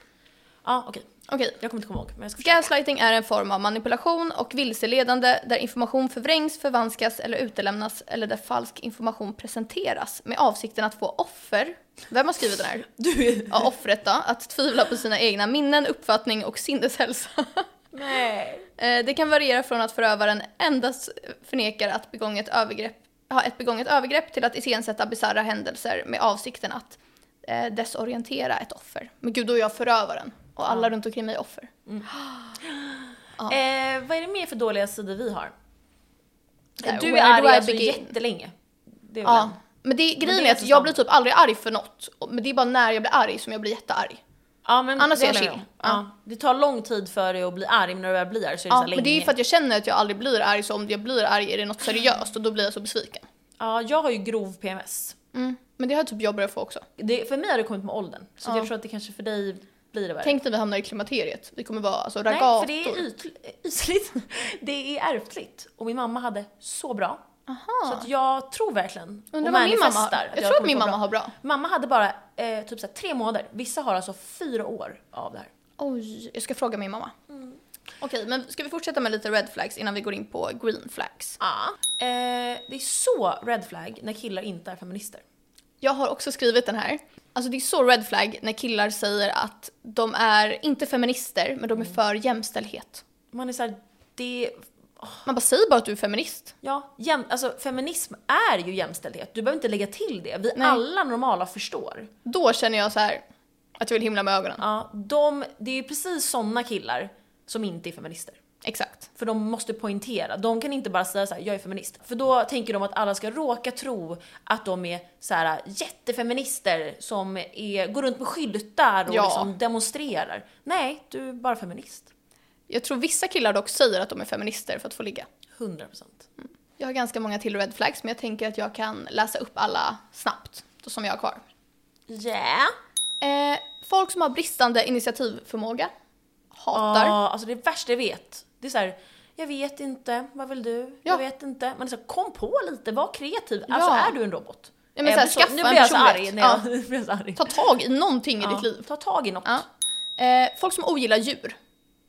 [SPEAKER 1] Ja okej,
[SPEAKER 2] Okej.
[SPEAKER 1] jag kommer inte komma ihåg men jag ska
[SPEAKER 2] Gaslighting är en form av manipulation och vilseledande där information förvrängs, förvanskas eller utelämnas eller där falsk information presenteras med avsikten att få offer, vem har skrivit den här?
[SPEAKER 1] Du!
[SPEAKER 2] Ja, offret då, att tvivla på sina egna minnen, uppfattning och sinneshälsa.
[SPEAKER 1] Nej.
[SPEAKER 2] Eh, Det kan variera från att förövaren endast förnekar att begånget övergrepp, ha ett begånget övergrepp till att iscensätta bisarra händelser med avsikten att eh, desorientera ett offer. Men gud, då är jag förövaren och alla runt omkring mig är offer. Ja.
[SPEAKER 1] Eh, vad är det mer för dåliga sidor vi har?
[SPEAKER 2] Där,
[SPEAKER 1] du
[SPEAKER 2] where
[SPEAKER 1] är
[SPEAKER 2] do
[SPEAKER 1] arg
[SPEAKER 2] I
[SPEAKER 1] alltså
[SPEAKER 2] begin?
[SPEAKER 1] jättelänge. Det är väl
[SPEAKER 2] Ja.
[SPEAKER 1] en-
[SPEAKER 2] Men det, grejen
[SPEAKER 1] det är
[SPEAKER 2] är att
[SPEAKER 1] alltså
[SPEAKER 2] jag
[SPEAKER 1] sant.
[SPEAKER 2] blir typ aldrig arg för något. Och- Men det är bara när jag blir arg som jag blir jättearg.
[SPEAKER 1] Ja, men
[SPEAKER 2] Annars
[SPEAKER 1] det
[SPEAKER 2] är jag
[SPEAKER 1] håller
[SPEAKER 2] chill.
[SPEAKER 1] om. Ja. Det tar lång tid för dig att bli arg, men när du väl blir arg så är det
[SPEAKER 2] Ja,
[SPEAKER 1] så här
[SPEAKER 2] men det är ju
[SPEAKER 1] länge.
[SPEAKER 2] för att jag känner att jag aldrig blir arg, så om jag blir arg är det något seriöst och då blir jag så besviken.
[SPEAKER 1] Ja, jag har ju grov PMS.
[SPEAKER 2] Mm. Men det har typ jag börjat få också.
[SPEAKER 1] Det, för mig har det kommit med åldern, så
[SPEAKER 2] Ja.
[SPEAKER 1] jag tror att det kanske för dig blir det värre.
[SPEAKER 2] Tänk när vi hamnar i klimakteriet. Vi kommer vara alltså
[SPEAKER 1] Nej,
[SPEAKER 2] ragator.
[SPEAKER 1] för det är ytl- ytligt. Det är ärftligt. Och min mamma hade så bra. Så att jag tror verkligen
[SPEAKER 2] Undrar
[SPEAKER 1] och
[SPEAKER 2] vad min mamma
[SPEAKER 1] manifestar
[SPEAKER 2] har. Jag,
[SPEAKER 1] jag
[SPEAKER 2] tror att
[SPEAKER 1] kommer
[SPEAKER 2] min
[SPEAKER 1] få
[SPEAKER 2] mamma
[SPEAKER 1] bra.
[SPEAKER 2] har bra.
[SPEAKER 1] Mamma hade bara eh, typ så här, tre månader. Vissa har alltså fyra år av det här.
[SPEAKER 2] Oj, jag ska fråga min mamma.
[SPEAKER 1] Mm.
[SPEAKER 2] Okej, men ska vi fortsätta med lite red flags innan vi går in på green flags?
[SPEAKER 1] Eh, det är så red flag när killar inte är feminister.
[SPEAKER 2] Jag har också skrivit den här. Alltså det är så red flag när killar säger att de är inte feminister, men de
[SPEAKER 1] Mm.
[SPEAKER 2] är för jämställdhet.
[SPEAKER 1] Man är såhär, det
[SPEAKER 2] Man bara säger bara att du är feminist.
[SPEAKER 1] Ja, jäm, alltså feminism är ju jämställdhet. Du behöver inte lägga till det. Vi
[SPEAKER 2] Nej.
[SPEAKER 1] alla normala förstår.
[SPEAKER 2] Då känner jag så här att jag vill himla med ögonen.
[SPEAKER 1] Ja, de, det är ju precis såna killar som inte är feminister.
[SPEAKER 2] Exakt.
[SPEAKER 1] För de måste poängtera. De kan inte bara säga så här: jag är feminist. För då tänker de att alla ska råka tro att de är så här jättefeminister som är, går runt med skyltar och
[SPEAKER 2] Ja.
[SPEAKER 1] liksom demonstrerar. Nej, du är bara feminist.
[SPEAKER 2] Jag tror vissa killar dock säger att de är feminister för att få ligga.
[SPEAKER 1] 100%.
[SPEAKER 2] Jag har ganska många till red flags, men jag tänker att jag kan läsa upp alla snabbt, som jag har kvar.
[SPEAKER 1] Yeah!
[SPEAKER 2] Eh, folk som har bristande initiativförmåga hatar.
[SPEAKER 1] Ja, alltså det värsta jag vet. Det är så här, jag vet inte, vad vill du?
[SPEAKER 2] Ja.
[SPEAKER 1] Jag vet inte. Man är så här, kom på lite, var kreativ. Alltså
[SPEAKER 2] Ja.
[SPEAKER 1] är du en robot?
[SPEAKER 2] Ja, men
[SPEAKER 1] Eh,
[SPEAKER 2] så här,
[SPEAKER 1] så-
[SPEAKER 2] skaffa
[SPEAKER 1] nu
[SPEAKER 2] en
[SPEAKER 1] blir jag så arg.
[SPEAKER 2] personlighet.
[SPEAKER 1] Nej,
[SPEAKER 2] Ja.
[SPEAKER 1] jag nu blir jag så arg.
[SPEAKER 2] Ta tag i någonting i ditt liv.
[SPEAKER 1] Ta tag i något.
[SPEAKER 2] Ja.
[SPEAKER 1] Ja.
[SPEAKER 2] Eh, folk som ogillar djur.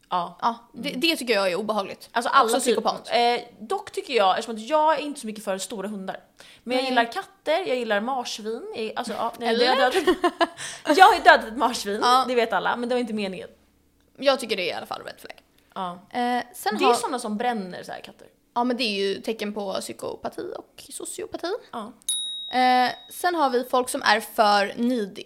[SPEAKER 2] Ja, det, det tycker jag är obehagligt.
[SPEAKER 1] Alltså alla
[SPEAKER 2] Också
[SPEAKER 1] typ,
[SPEAKER 2] psykopat.
[SPEAKER 1] eh, dock tycker jag, eftersom att jag är inte så mycket för stora hundar. Men jag
[SPEAKER 2] Nej.
[SPEAKER 1] gillar katter, jag gillar marsvin. Jag, alltså, ja, nej,
[SPEAKER 2] Eller?
[SPEAKER 1] jag, har dödat, jag har ju dödat ett marsvin,
[SPEAKER 2] Ja.
[SPEAKER 1] det vet alla, men det var inte meningen.
[SPEAKER 2] Jag tycker det är i alla fall red flag.
[SPEAKER 1] Ja.
[SPEAKER 2] Eh, sen
[SPEAKER 1] Det är
[SPEAKER 2] har,
[SPEAKER 1] ju sådana som bränner så här katter.
[SPEAKER 2] Ja men det är ju tecken på psykopati och sociopati.
[SPEAKER 1] Ja.
[SPEAKER 2] Eh, sen har vi folk som är för needy.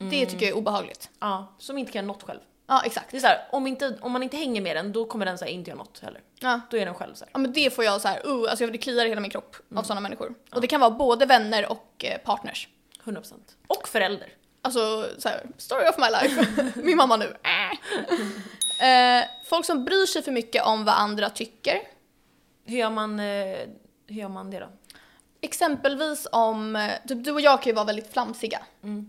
[SPEAKER 1] Mm.
[SPEAKER 2] Det tycker jag är obehagligt.
[SPEAKER 1] Ja, som inte kan göra något själv.
[SPEAKER 2] Ja exakt.
[SPEAKER 1] Det är så här, om, inte, om man inte hänger med den då kommer den så här, inte göra något heller.
[SPEAKER 2] Ja.
[SPEAKER 1] Då är den själv så här.
[SPEAKER 2] Ja men det får jag så här, uh, alltså det kliar i hela min kropp
[SPEAKER 1] Mm.
[SPEAKER 2] av sådana människor. Och det kan vara både vänner och eh, partners.
[SPEAKER 1] 100%. Och förälder.
[SPEAKER 2] Alltså så här, story of my life. Min mamma nu. Äh. eh, folk som bryr sig för mycket om vad andra tycker.
[SPEAKER 1] Hur gör man, eh, hur gör man det då?
[SPEAKER 2] Exempelvis om, eh, typ du och jag kan ju vara väldigt flamsiga.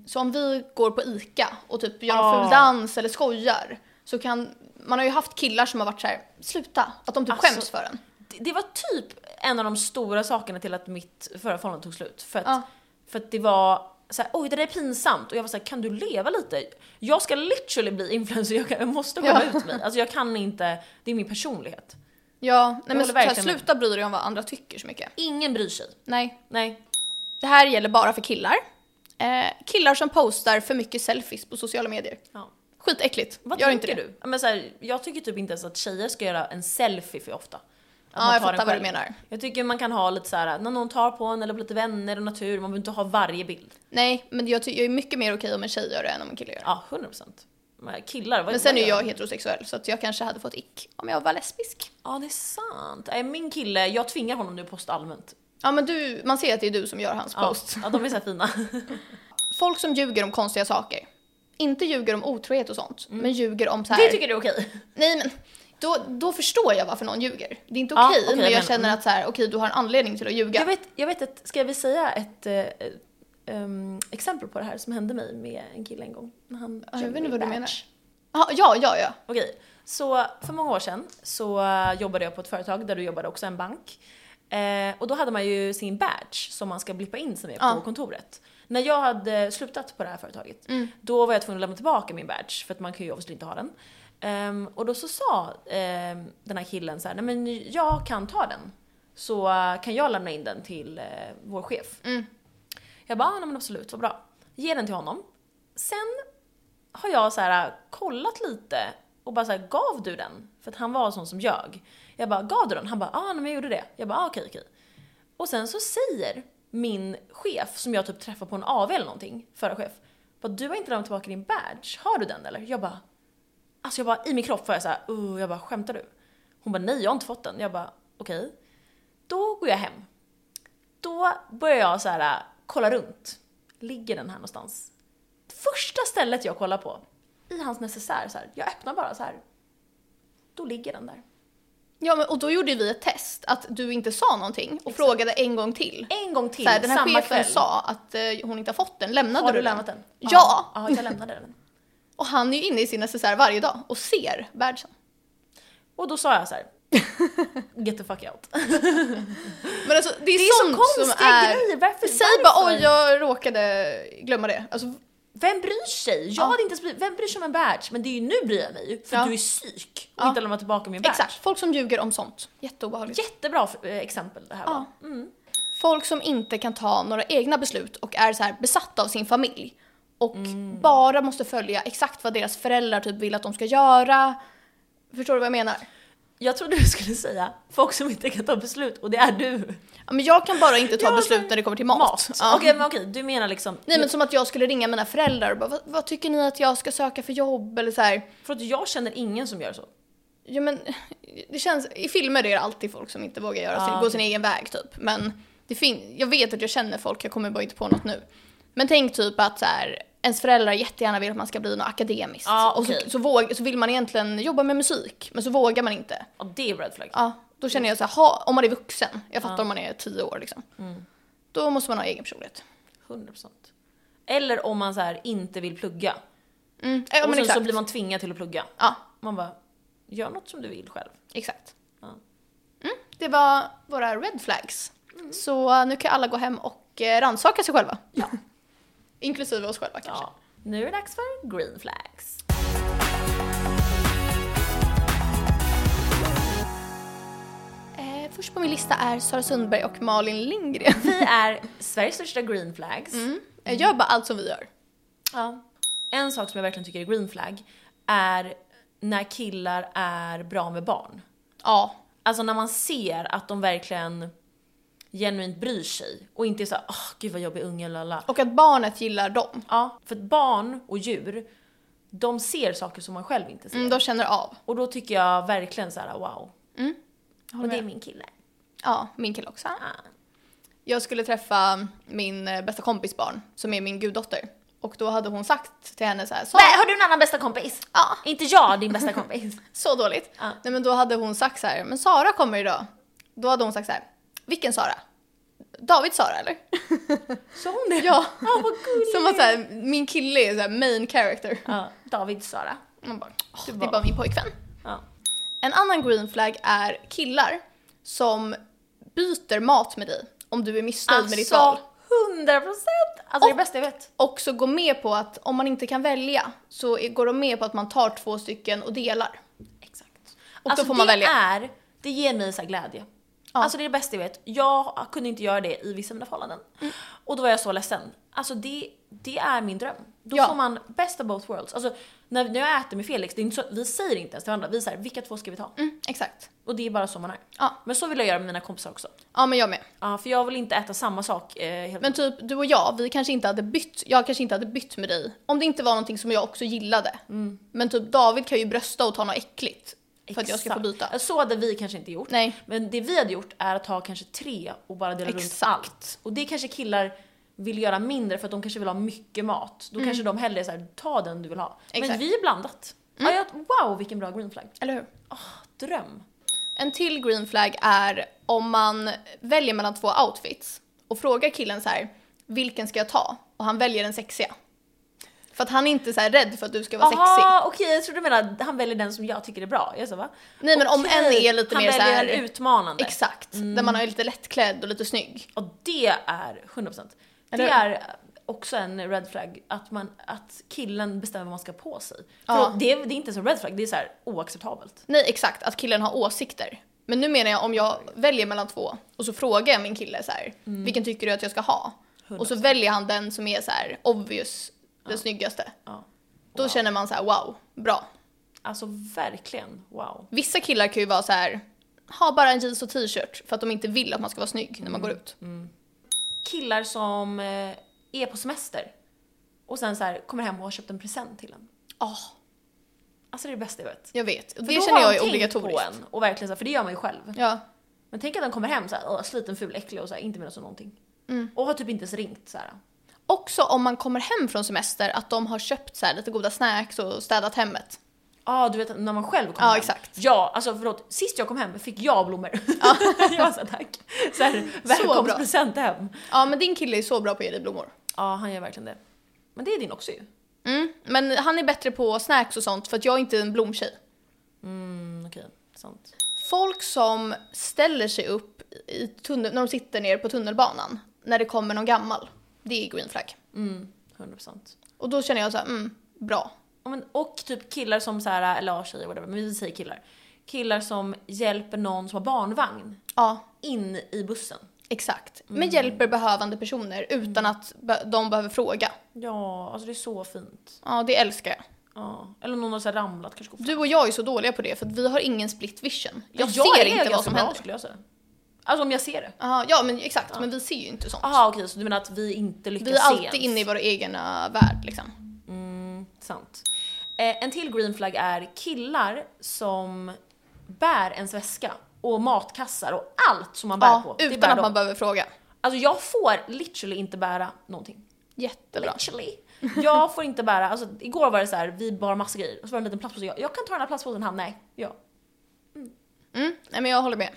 [SPEAKER 2] Så om vi går på ICA och typ gör en
[SPEAKER 1] Mm. Ah.
[SPEAKER 2] ful dans eller skojar så kan, man har ju haft killar som har varit så här, sluta, att de typ
[SPEAKER 1] Alltså,
[SPEAKER 2] skäms för en.
[SPEAKER 1] Det, det var typ en av de stora sakerna till att mitt förra förhållande tog slut. För att,
[SPEAKER 2] Ja.
[SPEAKER 1] för att det var så här, oj det där är pinsamt. Och jag var så här, kan du leva lite? Jag ska literally bli influencer, jag, kan, jag måste
[SPEAKER 2] Ja.
[SPEAKER 1] skämma ut mig. Alltså jag kan inte, det är min personlighet.
[SPEAKER 2] Ja, nej men
[SPEAKER 1] håller
[SPEAKER 2] så här,
[SPEAKER 1] verkligen med.
[SPEAKER 2] sluta bry dig om vad andra tycker så mycket.
[SPEAKER 1] Ingen bryr sig.
[SPEAKER 2] Nej,
[SPEAKER 1] Nej.
[SPEAKER 2] det här gäller bara för killar. Eh, killar som postar för mycket selfies på sociala medier.
[SPEAKER 1] Ja.
[SPEAKER 2] Skitäckligt,
[SPEAKER 1] Vad
[SPEAKER 2] gör inte
[SPEAKER 1] tänker
[SPEAKER 2] det.
[SPEAKER 1] du? Ja, Men så här, jag tycker typ inte ens att tjejer ska göra en selfie för ofta. Att man
[SPEAKER 2] Ja, jag
[SPEAKER 1] tar den
[SPEAKER 2] fattar vad du
[SPEAKER 1] själv.
[SPEAKER 2] menar.
[SPEAKER 1] Jag tycker man kan ha lite så här när någon tar på en eller på lite vänner och natur, man behöver inte ha varje bild.
[SPEAKER 2] Nej, men jag, ty- jag är mycket mer okej om en tjej gör det än om en kille gör det.
[SPEAKER 1] Ja, 100 procent. Killar, vad
[SPEAKER 2] Men sen
[SPEAKER 1] vad
[SPEAKER 2] är
[SPEAKER 1] gör
[SPEAKER 2] jag
[SPEAKER 1] de?
[SPEAKER 2] heterosexuell så att jag kanske hade fått ick om jag var lesbisk.
[SPEAKER 1] Ja, det är sant. Nej, Min kille, jag tvingar honom nu att posta allmänt.
[SPEAKER 2] Ja men du, man ser att det är du som gör hans
[SPEAKER 1] Ja,
[SPEAKER 2] post.
[SPEAKER 1] ja, de är så här fina.
[SPEAKER 2] Folk som ljuger om konstiga saker. inte ljuger om otrohet och sånt, men ljuger om så här.
[SPEAKER 1] Det tycker du är okej?
[SPEAKER 2] Nej men, då, då förstår jag varför någon ljuger. Det är inte okej,
[SPEAKER 1] Ja, okej,
[SPEAKER 2] men jag
[SPEAKER 1] men-
[SPEAKER 2] känner att så här, okej du har en anledning till att ljuga.
[SPEAKER 1] Jag, vet, jag vet att, ska vi säga ett eh, ehm, exempel på det här som hände mig med en kille en gång? När han
[SPEAKER 2] jag
[SPEAKER 1] körde
[SPEAKER 2] vet inte
[SPEAKER 1] mig
[SPEAKER 2] vad du
[SPEAKER 1] batch.
[SPEAKER 2] menar. Ah, ja, ja, ja.
[SPEAKER 1] Okej, så för många år sedan så eh, jobbade jag på ett företag där du jobbade också, en bank. Eh, och då hade man ju sin badge som man ska blippa in sig med
[SPEAKER 2] Ja.
[SPEAKER 1] på kontoret. När jag hade slutat på det här företaget,
[SPEAKER 2] Mm.
[SPEAKER 1] då var jag tvungen att lämna tillbaka min badge för att man kan ju obviously inte ha den. Ehm, och då så sa ehm, den här killen så här, nej men jag kan ta den. Så eh, kan jag lämna in den till eh, vår chef.
[SPEAKER 2] Mm.
[SPEAKER 1] Jag bara, ah, nej men absolut, vad bra. Ge den till honom. Sen har jag så här äh, kollat lite och bara så här, gav du den? För att han var sån som jag. Jag bara, gav du den? Han bara, ah, nej men jag gjorde det. Jag bara, ah, okej, okej. Och sen så säger min chef, som jag typ träffade på en AV eller någonting, förra chef, bara, du har inte lämnat tillbaka din badge, har du den eller? Jag bara, alltså jag bara, i min kropp får jag så här, uh, jag bara, skämtar du? Hon bara, nej jag har inte fått den. Jag bara, okej. Då går jag hem. Då börjar jag så här äh, kolla runt. Ligger den här någonstans? Första stället jag kollar på, i hans necessär så här, jag öppnar bara så här. Då ligger den där.
[SPEAKER 2] Ja, men, och då gjorde vi ett test, att du inte sa någonting och frågade en gång till.
[SPEAKER 1] En gång till,
[SPEAKER 2] Så här, den här
[SPEAKER 1] samma
[SPEAKER 2] chefen
[SPEAKER 1] kväll.
[SPEAKER 2] sa att eh, hon inte har fått den, lämnade
[SPEAKER 1] har
[SPEAKER 2] du,
[SPEAKER 1] du lämnat den?
[SPEAKER 2] Ja!
[SPEAKER 1] Ja, jag lämnade den.
[SPEAKER 2] Och han är ju inne i sin necessär varje dag och ser badgen.
[SPEAKER 1] Och då sa jag så här. Get the fuck out.
[SPEAKER 2] Men alltså det är,
[SPEAKER 1] Det är så
[SPEAKER 2] sånt
[SPEAKER 1] konstiga
[SPEAKER 2] som är...
[SPEAKER 1] grejer, varför?
[SPEAKER 2] Säg bara oj jag råkade glömma det. Alltså,
[SPEAKER 1] Vem bryr sig? Jag
[SPEAKER 2] Ja.
[SPEAKER 1] hade inte ens bry- Vem bryr sig om en badge? Men det är ju nu bryr jag mig ju, för
[SPEAKER 2] Ja.
[SPEAKER 1] du är psyk och
[SPEAKER 2] Ja.
[SPEAKER 1] inte lämnar tillbaka min badge.
[SPEAKER 2] exakt, folk som ljuger om sånt. Jätteobehagligt.
[SPEAKER 1] Jättebra för- eh, exempel det här
[SPEAKER 2] Ja.
[SPEAKER 1] var. Mm.
[SPEAKER 2] Folk som inte kan ta några egna beslut och är så här besatta av sin familj. Och
[SPEAKER 1] Mm.
[SPEAKER 2] bara måste följa exakt vad deras föräldrar typ vill att de ska göra. Förstår du vad jag menar?
[SPEAKER 1] Jag trodde du skulle säga folk som inte kan ta beslut och det är du.
[SPEAKER 2] Ja, men jag kan bara inte ta
[SPEAKER 1] Jag-
[SPEAKER 2] beslut när det kommer till mat. Ja.
[SPEAKER 1] Okej, men okej, du menar liksom...
[SPEAKER 2] Nej men som att jag skulle ringa mina föräldrar och bara vad, vad tycker ni att jag ska söka för jobb eller så här.
[SPEAKER 1] För att jag känner ingen som gör så.
[SPEAKER 2] Ja men det känns, i filmer är det alltid folk som inte vågar göra sin,
[SPEAKER 1] Ja.
[SPEAKER 2] gå sin egen väg typ. Men det fin- jag vet att jag känner folk, jag kommer bara inte på något nu. Men tänk typ att så här, ens föräldrar jättegärna vill att man ska bli något akademiskt.
[SPEAKER 1] Ja,
[SPEAKER 2] Och så,
[SPEAKER 1] okej.
[SPEAKER 2] så, våg, så vill man egentligen jobba med musik, men så vågar man inte.
[SPEAKER 1] Ja, det är red flag.
[SPEAKER 2] Ja, då känner jag så här, ha, om man är vuxen, jag fattar om man är tio år liksom.
[SPEAKER 1] Mm.
[SPEAKER 2] Då måste man ha egen personlighet.
[SPEAKER 1] 100%. Eller om man så här inte vill plugga.
[SPEAKER 2] Mm. Ja,
[SPEAKER 1] och
[SPEAKER 2] men
[SPEAKER 1] sen
[SPEAKER 2] exakt.
[SPEAKER 1] så blir man tvingad till att plugga.
[SPEAKER 2] Ja,
[SPEAKER 1] Man bara, gör något som du vill själv.
[SPEAKER 2] exakt.
[SPEAKER 1] Ja.
[SPEAKER 2] Mm, det var våra red flags. Så eh, nu kan alla gå hem och eh, rannsaka sig själva.
[SPEAKER 1] Ja.
[SPEAKER 2] Inklusive oss själva kanske.
[SPEAKER 1] ja. Nu är det dags för green flags.
[SPEAKER 2] Eh, först på min lista är Sara Sundberg och Malin Lindgren.
[SPEAKER 1] Vi är Sveriges största green flags.
[SPEAKER 2] Eh, Gör bara allt som vi gör.
[SPEAKER 1] Ja. En sak som jag verkligen tycker är green flag är när killar är bra med barn.
[SPEAKER 2] Ja.
[SPEAKER 1] Alltså när man ser att de verkligen genuint bryr sig och inte är såhär åh gud vad jobbig unge lala.
[SPEAKER 2] Och att barnet gillar dem.
[SPEAKER 1] Ja, för att barn och djur, de ser saker som man själv inte ser.
[SPEAKER 2] Mm, de känner av.
[SPEAKER 1] Och då tycker jag verkligen så här: wow.
[SPEAKER 2] Mm. håller
[SPEAKER 1] Och det är
[SPEAKER 2] med.
[SPEAKER 1] min kille.
[SPEAKER 2] Ja, min kille också.
[SPEAKER 1] Ah.
[SPEAKER 2] Jag skulle träffa min eh, bästa kompis barn, som är min guddotter. Och då hade hon sagt till henne så här,
[SPEAKER 1] Nej,
[SPEAKER 2] Sara,
[SPEAKER 1] har du en annan bästa kompis?
[SPEAKER 2] Ja.
[SPEAKER 1] Inte jag, din bästa kompis.
[SPEAKER 2] så dåligt.
[SPEAKER 1] Ja.
[SPEAKER 2] Nej men då hade hon sagt så här, men Sara kommer idag. Då hade hon sagt så här, vilken Sara? David Sara eller?
[SPEAKER 1] Så hon det?
[SPEAKER 2] Ja.
[SPEAKER 1] Ah, vad gulligt.
[SPEAKER 2] Som att så här, min kille är så här main character.
[SPEAKER 1] Ja, David Sara.
[SPEAKER 2] Man bara,
[SPEAKER 1] Du
[SPEAKER 2] det är
[SPEAKER 1] bara-
[SPEAKER 2] bara min pojkvän.
[SPEAKER 1] Ja.
[SPEAKER 2] En annan green flag är killar som byter mat med dig om du är missnöjd med ditt val.
[SPEAKER 1] 100 Alltså, procent! Alltså det är det bästa jag vet.
[SPEAKER 2] Och så gå med på att om man inte kan välja så är- går de med på att man tar två stycken och delar.
[SPEAKER 1] Exakt.
[SPEAKER 2] då
[SPEAKER 1] alltså
[SPEAKER 2] får man
[SPEAKER 1] det
[SPEAKER 2] välja.
[SPEAKER 1] är, det ger mig så här glädje.
[SPEAKER 2] Ja.
[SPEAKER 1] Alltså det är det bästa jag vet. Jag kunde inte göra det i vissa av mina förhållanden.
[SPEAKER 2] Mm.
[SPEAKER 1] Och då var jag så ledsen. Alltså det, det är min dröm. Då
[SPEAKER 2] Ja.
[SPEAKER 1] får man best of both worlds. Alltså när, när jag äter med Felix, det är inte så, vi säger inte ens till varandra, vi säger vilka två ska vi ta?
[SPEAKER 2] Mm, exakt.
[SPEAKER 1] Och det är bara så man är.
[SPEAKER 2] Ja.
[SPEAKER 1] Men så vill jag göra med mina kompisar också.
[SPEAKER 2] Ja men jag med.
[SPEAKER 1] Ja, för jag vill inte äta samma sak eh, hela
[SPEAKER 2] Men typ du och jag, vi kanske inte hade bytt, jag kanske inte hade bytt med dig om det inte var någonting som jag också gillade.
[SPEAKER 1] Mm.
[SPEAKER 2] Men typ David kan ju brösta och ta något äckligt för att jag ska få
[SPEAKER 1] Exakt. Alltså,
[SPEAKER 2] byta.
[SPEAKER 1] Så hade vi kanske inte gjort.
[SPEAKER 2] Nej.
[SPEAKER 1] Men det vi hade gjort är att ta kanske tre och bara dela runt
[SPEAKER 2] Exakt.
[SPEAKER 1] allt. Och det kanske killar vill göra mindre för att de kanske vill ha mycket mat. Då kanske de hellre är såhär, ta den du vill ha. Men
[SPEAKER 2] Mm. Exakt. Mm.
[SPEAKER 1] vi är blandat. Ja, jag, wow vilken bra green flag.
[SPEAKER 2] Eller hur?
[SPEAKER 1] Dröm.
[SPEAKER 2] En till green flag är om man väljer mellan två outfits och frågar killen så här, vilken ska jag ta? Och han väljer den sexiga. För att han är inte så här rädd för att du ska vara sexig.
[SPEAKER 1] Jaha okej jag trodde du menade att han väljer den som jag tycker är bra. Jag sa va?
[SPEAKER 2] Nej men om
[SPEAKER 1] Okej,
[SPEAKER 2] en är lite
[SPEAKER 1] han
[SPEAKER 2] mer så
[SPEAKER 1] väljer
[SPEAKER 2] här,
[SPEAKER 1] en Mm. utmanande.
[SPEAKER 2] Exakt, där man är lite lättklädd och lite snygg.
[SPEAKER 1] Och det är 100%.
[SPEAKER 2] Eller
[SPEAKER 1] Det
[SPEAKER 2] hur?
[SPEAKER 1] är också en red flag, att, man, att killen bestämmer vad man ska ha på sig.
[SPEAKER 2] Ja.
[SPEAKER 1] För det, är- det är inte så red flag, det är så här oacceptabelt.
[SPEAKER 2] Nej exakt, att killen har åsikter. Men nu menar jag om jag väljer mellan två och så frågar jag min kille så här,
[SPEAKER 1] Mm.
[SPEAKER 2] vilken tycker du att jag ska ha? Och så väljer han den som är så här obvious, den snyggaste.
[SPEAKER 1] Ja.
[SPEAKER 2] Då känner man så här wow, bra.
[SPEAKER 1] Alltså verkligen, wow.
[SPEAKER 2] Vissa killar kan ju vara så här ha bara en jeans och t-shirt för att de inte vill att man ska vara snygg när
[SPEAKER 1] Mm.
[SPEAKER 2] man går ut.
[SPEAKER 1] Killar som eh, är på semester och sen så här, kommer hem och har köpt en present till en.
[SPEAKER 2] Ja,
[SPEAKER 1] Alltså det är det bästa jag vet.
[SPEAKER 2] Ah, jag vet.
[SPEAKER 1] För då
[SPEAKER 2] det känner
[SPEAKER 1] har
[SPEAKER 2] jag
[SPEAKER 1] de
[SPEAKER 2] är
[SPEAKER 1] tänkt
[SPEAKER 2] obligatoriskt.
[SPEAKER 1] På en och verkligen så här, för det gör man ju själv.
[SPEAKER 2] Ja,
[SPEAKER 1] Men tänk att de kommer hem så här, "Åh, sliten, ful, äcklig och så här, inte menar som någonting.
[SPEAKER 2] Mm.
[SPEAKER 1] Och har typ inte ens ringt så här.
[SPEAKER 2] Också om man kommer hem från semester att de har köpt så här lite goda snacks och städat hemmet.
[SPEAKER 1] Ja, Ah, du vet när man själv kom
[SPEAKER 2] Ja,
[SPEAKER 1] hem.
[SPEAKER 2] exakt.
[SPEAKER 1] Ja, alltså förlåt. Sist jag kom hem fick jag blommor. jag var såhär tack. Såhär välkomstpresent hem.
[SPEAKER 2] Ja men din kille är så bra på att ge dig blommor.
[SPEAKER 1] Ja, han gör verkligen det. Men det är din också ju.
[SPEAKER 2] Mm. Men han är bättre på snacks och sånt för att jag är inte en blomtjej.
[SPEAKER 1] Mm, okej. Sant.
[SPEAKER 2] Folk som ställer sig upp i tunnel, när de sitter ner på tunnelbanan när det kommer någon gammal. Det är green flag.
[SPEAKER 1] Mm, 100%.
[SPEAKER 2] Och då känner jag så här, mm, bra.
[SPEAKER 1] Ja, men, och typ killar som såhär, eller ja, tjejer whatever, men vi säger killar. Killar som hjälper någon som har barnvagn
[SPEAKER 2] Ja,
[SPEAKER 1] in i bussen.
[SPEAKER 2] Exakt. Men
[SPEAKER 1] Mm.
[SPEAKER 2] hjälper behövande personer utan att be- de behöver fråga.
[SPEAKER 1] Ja, alltså det är så fint.
[SPEAKER 2] Ja, det älskar jag.
[SPEAKER 1] Ja. Eller någon har så här ramlat kanske. går fram.
[SPEAKER 2] Du och jag är så dåliga på det för att vi har ingen split vision. Jag,
[SPEAKER 1] Men
[SPEAKER 2] ser
[SPEAKER 1] är
[SPEAKER 2] inte
[SPEAKER 1] ganska
[SPEAKER 2] vad som
[SPEAKER 1] bra,
[SPEAKER 2] händer.
[SPEAKER 1] skulle jag säga. Alltså om jag ser det.
[SPEAKER 2] Aha, ja, men exakt. Men vi ser ju inte sånt.
[SPEAKER 1] Jaha okej, så du menar att vi inte lyckas
[SPEAKER 2] vi är
[SPEAKER 1] se
[SPEAKER 2] alltid
[SPEAKER 1] ens?
[SPEAKER 2] inne i vår egna värld liksom.
[SPEAKER 1] Sant. Eh, en till green flag är killar som bär ens väska och matkassar och allt som man bär
[SPEAKER 2] Ja,
[SPEAKER 1] på. det
[SPEAKER 2] utan
[SPEAKER 1] bär
[SPEAKER 2] att
[SPEAKER 1] de.
[SPEAKER 2] man behöver fråga.
[SPEAKER 1] Alltså jag får literally inte bära någonting.
[SPEAKER 2] Jättebra.
[SPEAKER 1] Literally. Jag får inte bära, alltså igår var det så här, vi bar massa grejer och så var det en liten plastpåse. Jag, jag kan ta den här plastpåsen, han nej. Ja.
[SPEAKER 2] Mm, nej, men jag håller med.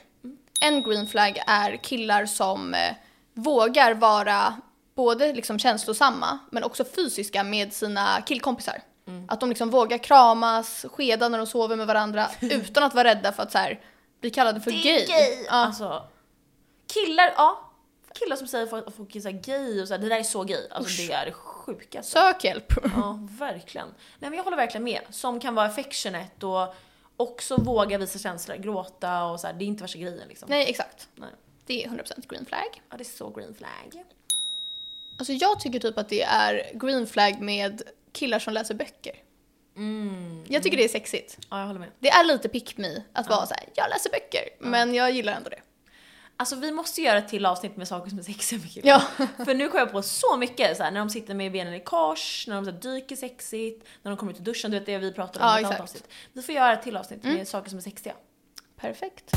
[SPEAKER 2] En green flag är killar som eh, vågar vara både liksom känslosamma men också fysiska med sina killkompisar. Att de liksom vågar kramas, skeda när de sover med varandra utan att vara rädda för att så här, bli kallade för gay. Ja,
[SPEAKER 1] Alltså, killar, ja. Killar som säger att folk är så här gay och så här, det där är så gay. Alltså det är det sjukaste.
[SPEAKER 2] sök hjälp.
[SPEAKER 1] Ja, verkligen. Nej, men jag håller verkligen med. Som kan vara affectionate och också våga visa känslor, gråta och så här. Det är inte värsta grejen liksom.
[SPEAKER 2] Nej, exakt.
[SPEAKER 1] Nej.
[SPEAKER 2] Det är 100% green flag.
[SPEAKER 1] Ja, det är så green flag.
[SPEAKER 2] Alltså jag tycker typ att det är green flag med killar som läser böcker. Jag tycker det är sexigt.
[SPEAKER 1] Mm. Ja, jag håller med.
[SPEAKER 2] Det är lite pick me att vara så här, jag läser böcker, men jag gillar ändå det.
[SPEAKER 1] Alltså vi måste göra ett till avsnitt med saker som är sexiga med killar.
[SPEAKER 2] Ja.
[SPEAKER 1] För nu kom jag på så mycket så här, när de sitter med benen i kors, när de så här, dyker sexigt, när de kommer ut ur duschen, du vet det vi pratade om
[SPEAKER 2] Ja,
[SPEAKER 1] i ett annat
[SPEAKER 2] exakt.
[SPEAKER 1] avsnitt.
[SPEAKER 2] Mm.
[SPEAKER 1] Vi får göra ett till avsnitt med saker som är sexiga.
[SPEAKER 2] Perfekt.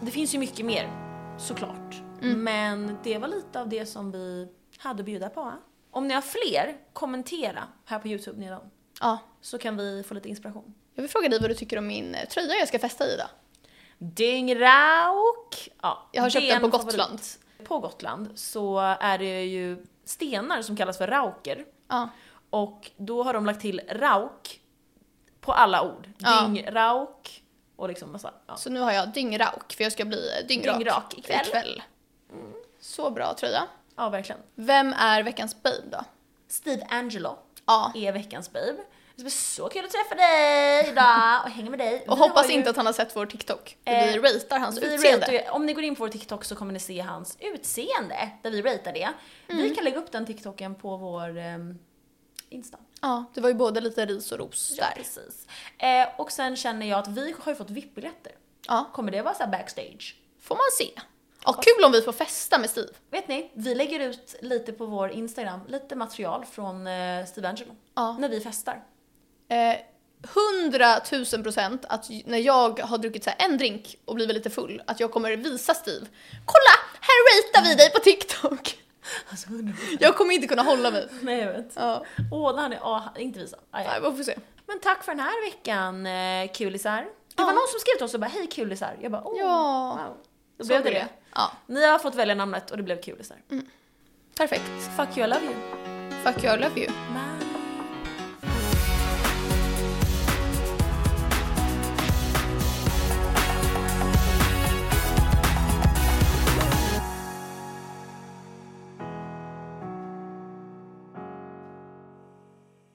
[SPEAKER 1] Det finns ju mycket mer, såklart.
[SPEAKER 2] Mm.
[SPEAKER 1] Men det var lite av det som vi hade att bjuda på. va? Om ni har fler, kommentera här på Youtube nedan.
[SPEAKER 2] Ja.
[SPEAKER 1] Så kan vi få lite inspiration.
[SPEAKER 2] Jag vill fråga dig vad du tycker om min eh, tröja jag ska festa i idag.
[SPEAKER 1] Dyngrauk! Ja,
[SPEAKER 2] Jag har köpt
[SPEAKER 1] det är
[SPEAKER 2] den på
[SPEAKER 1] en
[SPEAKER 2] Gotland.
[SPEAKER 1] favorit. På Gotland så är det ju stenar som kallas för rauker.
[SPEAKER 2] Ja.
[SPEAKER 1] Och då har de lagt till rauk på alla ord.
[SPEAKER 2] Ja.
[SPEAKER 1] Dyngrauk och liksom massa. Ja.
[SPEAKER 2] Så nu har jag dyngrak för jag ska bli eh, dyngrak,
[SPEAKER 1] Dyngrak ikväll. Mm.
[SPEAKER 2] Så bra tröja.
[SPEAKER 1] ja, verkligen.
[SPEAKER 2] Vem är veckans babe då?
[SPEAKER 1] Steve Angelo
[SPEAKER 2] Ja.
[SPEAKER 1] är veckans babe. Det ska bli så kul att träffa dig idag och hänga med dig.
[SPEAKER 2] Och
[SPEAKER 1] Vi
[SPEAKER 2] hoppas
[SPEAKER 1] har ju-
[SPEAKER 2] inte att han har sett vår TikTok. för
[SPEAKER 1] Eh,
[SPEAKER 2] vi ratear hans
[SPEAKER 1] vi
[SPEAKER 2] utseende.
[SPEAKER 1] ratear ju- om ni går in på vår TikTok så kommer ni se hans utseende där vi ratear det.
[SPEAKER 2] Mm.
[SPEAKER 1] Vi kan lägga upp den TikToken på vår ehm, Insta.
[SPEAKER 2] Ja, det var ju både lite ris och ros
[SPEAKER 1] Ja,
[SPEAKER 2] där.
[SPEAKER 1] precis. Eh, och sen känner jag att vi har ju fått VIP-biljetter.
[SPEAKER 2] Ja,
[SPEAKER 1] Kommer det vara så här backstage?
[SPEAKER 2] får man se. Ja, kul om vi får festa med Steve.
[SPEAKER 1] Vet ni, vi lägger ut lite på vår Instagram, lite material från eh, Steve Angelo.
[SPEAKER 2] Ja.
[SPEAKER 1] När vi festar.
[SPEAKER 2] Eh, hundratusen procent att ju- när jag har druckit så här en drink och blivit lite full, att jag kommer visa Steve. Kolla! Här ratear vi dig på TikTok!
[SPEAKER 1] Alltså, 100%.
[SPEAKER 2] Jag kommer inte kunna hålla mig.
[SPEAKER 1] Nej jag vet.
[SPEAKER 2] Ja,
[SPEAKER 1] Åh, när han är... ah, inte visa. Aj, aj.
[SPEAKER 2] nej, man får se.
[SPEAKER 1] Men tack för den här veckan eh, kulisar. Det
[SPEAKER 2] Ja.
[SPEAKER 1] var någon som skrev till oss och bara hej kulisar. Jag bara åh,
[SPEAKER 2] Ja.
[SPEAKER 1] wow. Då
[SPEAKER 2] Såg
[SPEAKER 1] blev det
[SPEAKER 2] du
[SPEAKER 1] det.
[SPEAKER 2] Ja,
[SPEAKER 1] Ni har fått välja
[SPEAKER 2] Mm.
[SPEAKER 1] namnet och det blev kulisar.
[SPEAKER 2] perfekt.
[SPEAKER 1] Fuck you, I love you.
[SPEAKER 2] Fuck you, I love you.
[SPEAKER 1] Bye.